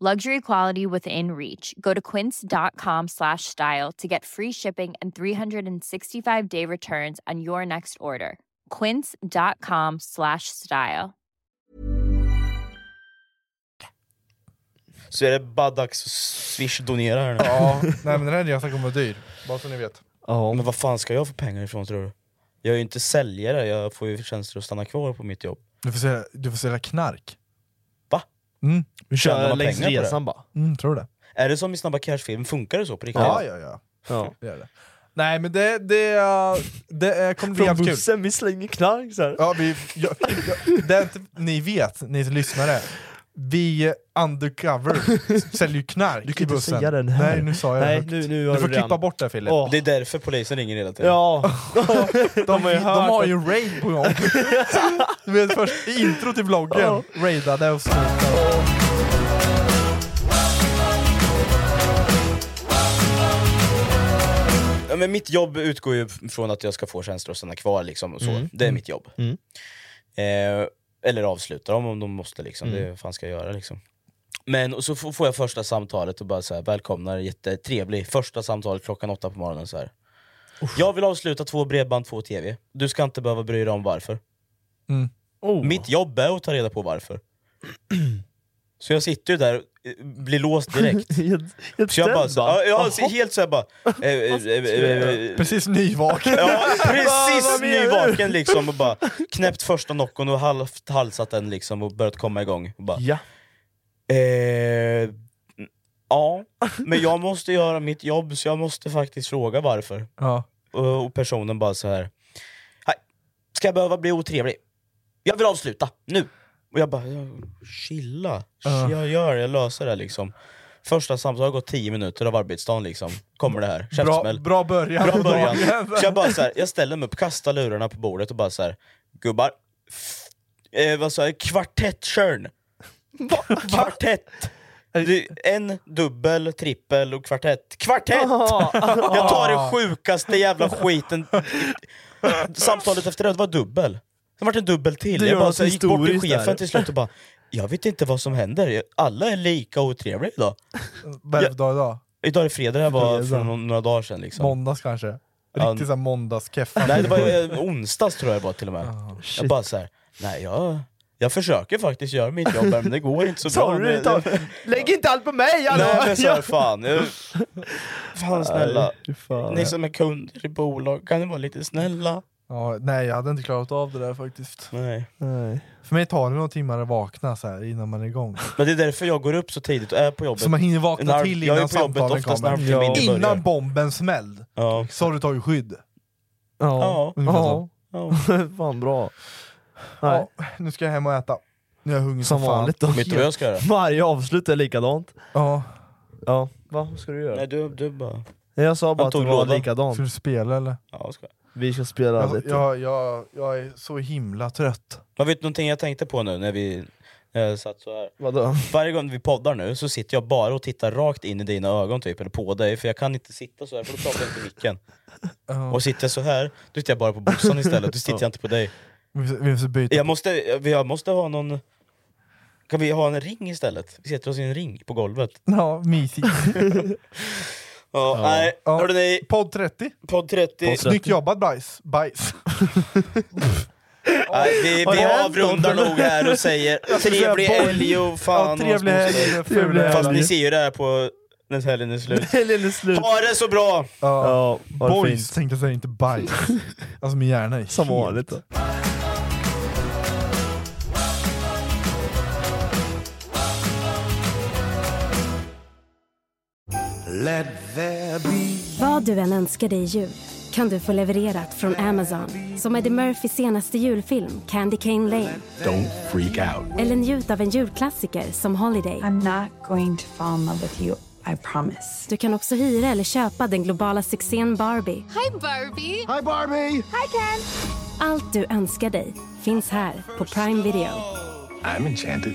luxury quality within reach go to quince.com slash style to get free shipping and 365 day returns on your next order quince.com slash style
Så är det bara dags att swish donera här nu.
Ja, nej men den här resan kommer vara dyr. Bara så ni vet.
Ja, men vad fan ska jag få pengar ifrån tror du? Jag är ju inte säljare, jag får ju tjänster att stanna kvar på mitt jobb.
Du får sälja, du får sälja knark.
Va?
Mm.
Hur tjänar man pengar på det?
Mm, tror det.
Är det som i Snabba Cash-filmen, funkar det så på riktigt?
Ja, ja, ja.
Ja.
Det gör det. Nej men det, det, uh, det eh, kommer bli
Från
jävligt kul.
bussen, vi slänger knark så här.
Ja, vi, jag, jag, det är inte, ni vet, ni som lyssnare, vi undercover säljer ju knark
Du kan
i
inte
bussen.
säga den här.
Nej, nu sa jag
Nej,
högt.
nu- nu har du
du får
redan.
klippa bort det Filip.
Åh.
Det är därför polisen ringer hela tiden.
Ja,
De,
har ju
de
hört
har
att-
ju raid på gång. du vet först i intro till vloggen,
Ja.
raidade och snuten.
Ja, men mitt jobb utgår ju från att jag ska få tjänster och stanna kvar. Liksom, och så.
Mm.
Det är mitt jobb.
Mm.
Eh, eller avsluta dem om de måste. Liksom.
Mm.
Det är vad fan ska jag göra? Liksom. Men och så f- får jag första samtalet och bara så här, välkomnar, jättetrevlig. Första samtalet klockan åtta på morgonen. Så här. Jag vill avsluta två bredband, två tv. Du ska inte behöva bry dig om varför.
Oh.
Mitt jobb är att ta reda på varför. så jag sitter ju där, eh, blir låst direkt.
Helt- helt
Så jag bara,
ställd,
så, ja,
Jaha.
jag, helt såhär bara... eh, eh, eh, eh,
Precis nyvaken.
Ja,
Ah, Vad menar
precis
du?
nyvaken liksom och bara knäppt första nocken och halvt halsat den liksom och börjat komma igång. Och bara,
Ja.
eh, ja, men jag måste göra mitt jobb så jag måste faktiskt fråga varför.
Ja.
Och, och personen bara så här. "Hej, ska jag behöva bli otrevlig? Jag vill avsluta, nu! Och jag bara, "Ja, chilla,
Ja.
jag gör det, jag löser det liksom. Första samtalet har gått 10 minuter av arbetsdagen liksom, kommer det här,
Bra,
käftsmäll.
bra början.
Bra
på
början.
dagen.
Så jag, bara så här, jag ställer mig upp, kastar lurarna på bordet och bara så här, gubbar, f- eh, vad sa jag, kvartettkörn! Kvartett! Du, en dubbel, trippel och kvartett. Kvartett! Jag tar den sjukaste jävla skiten. Samtalet efter det var dubbel. Sen vart det en dubbel till.
Det
jag
gör
bara
något
så här, gick bort till
historiskt där.
chefen till slut och bara jag vet inte vad som händer, alla är lika otrevliga idag.
Vad är det för dag idag?
Idag är det fredag, det här var
Fredag.
för några- några dagar sedan. Liksom.
Måndags kanske?
Ja.
Riktigt såhär måndagskeff.
Nej det var eh, onsdags tror jag det var till och med.
Ah,
jag bara såhär, nej jag, jag försöker faktiskt göra mitt jobb här, men det går inte så bra.
Sorry,
Men-
ta- lägg inte allt på mig! hallå!
Nej men såhär,
Ja.
fan. Jag, fan snälla.
Fy fan.
Ni som är kunder i bolag, kan ni vara lite snälla?
Ja, nej, jag hade inte klarat av det där faktiskt.
Nej.
Nej.
För mig tar det några timmar att vakna så här innan man är igång.
Men det är därför jag går upp så tidigt och är på jobbet.
Så man hinner vakna
En halv-
till
jag är
innan
på jobbet
samtalen
oftast när
kommer.
halvtimmen innan det börjar.
Innan bomben smällde,
Ja.
så har du tagit skydd.
Ja.
Ja.
Ungefär så.
ja.
Fan bra. Nej.
Ja, nu ska jag hem och äta. Nu är jag hungrig
Som
fan.
vanligt då.
Vet du vad jag ska göra?
Varje avslut är likadant.
Ja,
Ja. Va? Vad ska du göra?
Nej du, du bara...
Nej, jag sa bara att
tog
det var
lådan.
likadant.
ska du spela eller?
Ja, jag ska.
Vi ska spela
Jag,
typ.
lite.
jag, jag, jag är så himla trött.
Men vet du någonting jag tänkte på nu när vi eh, satt så här?
Vadå?
Varje gång vi poddar nu så sitter jag bara och tittar rakt in i dina ögon typ, eller på dig, för jag kan inte sitta så här för då pratar jag inte i micken.
Ja.
Och sitter jag så här, då tittar jag bara på Bossan istället, då tittar jag inte på dig.
Vi måste- Vi måste byta.
Jag måste, jag måste ha någon... Kan vi ha en ring istället? Vi sätter oss i en ring på golvet.
Ja, mysigt.
Ja, nej.
Ja.
Hörrni,
Podd 30.
podd 30.
Snyggt jobbat bajs. Bajs.
Nej, vi
Har det
vi
hänt
avrundar
något?
nog här och säger trevlig
säga boll.
helg och fan...
Ja,
och
trevlig
skos-
helg.
Trevlig
fula
Fast
helg.
ni ser ju det här på när helgen är slut.
Helgen är slut.
Ha det så bra!
Ja.
Ja, ha det
Boys
fint.
tänkte jag säga, inte bajs. Alltså min hjärna är
Som
helt-
vanligt. då.
Vad du än önskar dig i jul kan du få levererat från Amazon. Som Eddie Murphys senaste julfilm Candy Cane Lane.
Don't freak out.
Eller njut av en julklassiker som Holiday.
I'm not going to fall in love with you, I promise.
Du kan också hyra eller köpa den globala succén Barbie.
Hi Barbie!
Hi, Barbie!
Allt du önskar dig finns här på Prime Video.
I'm enchanted.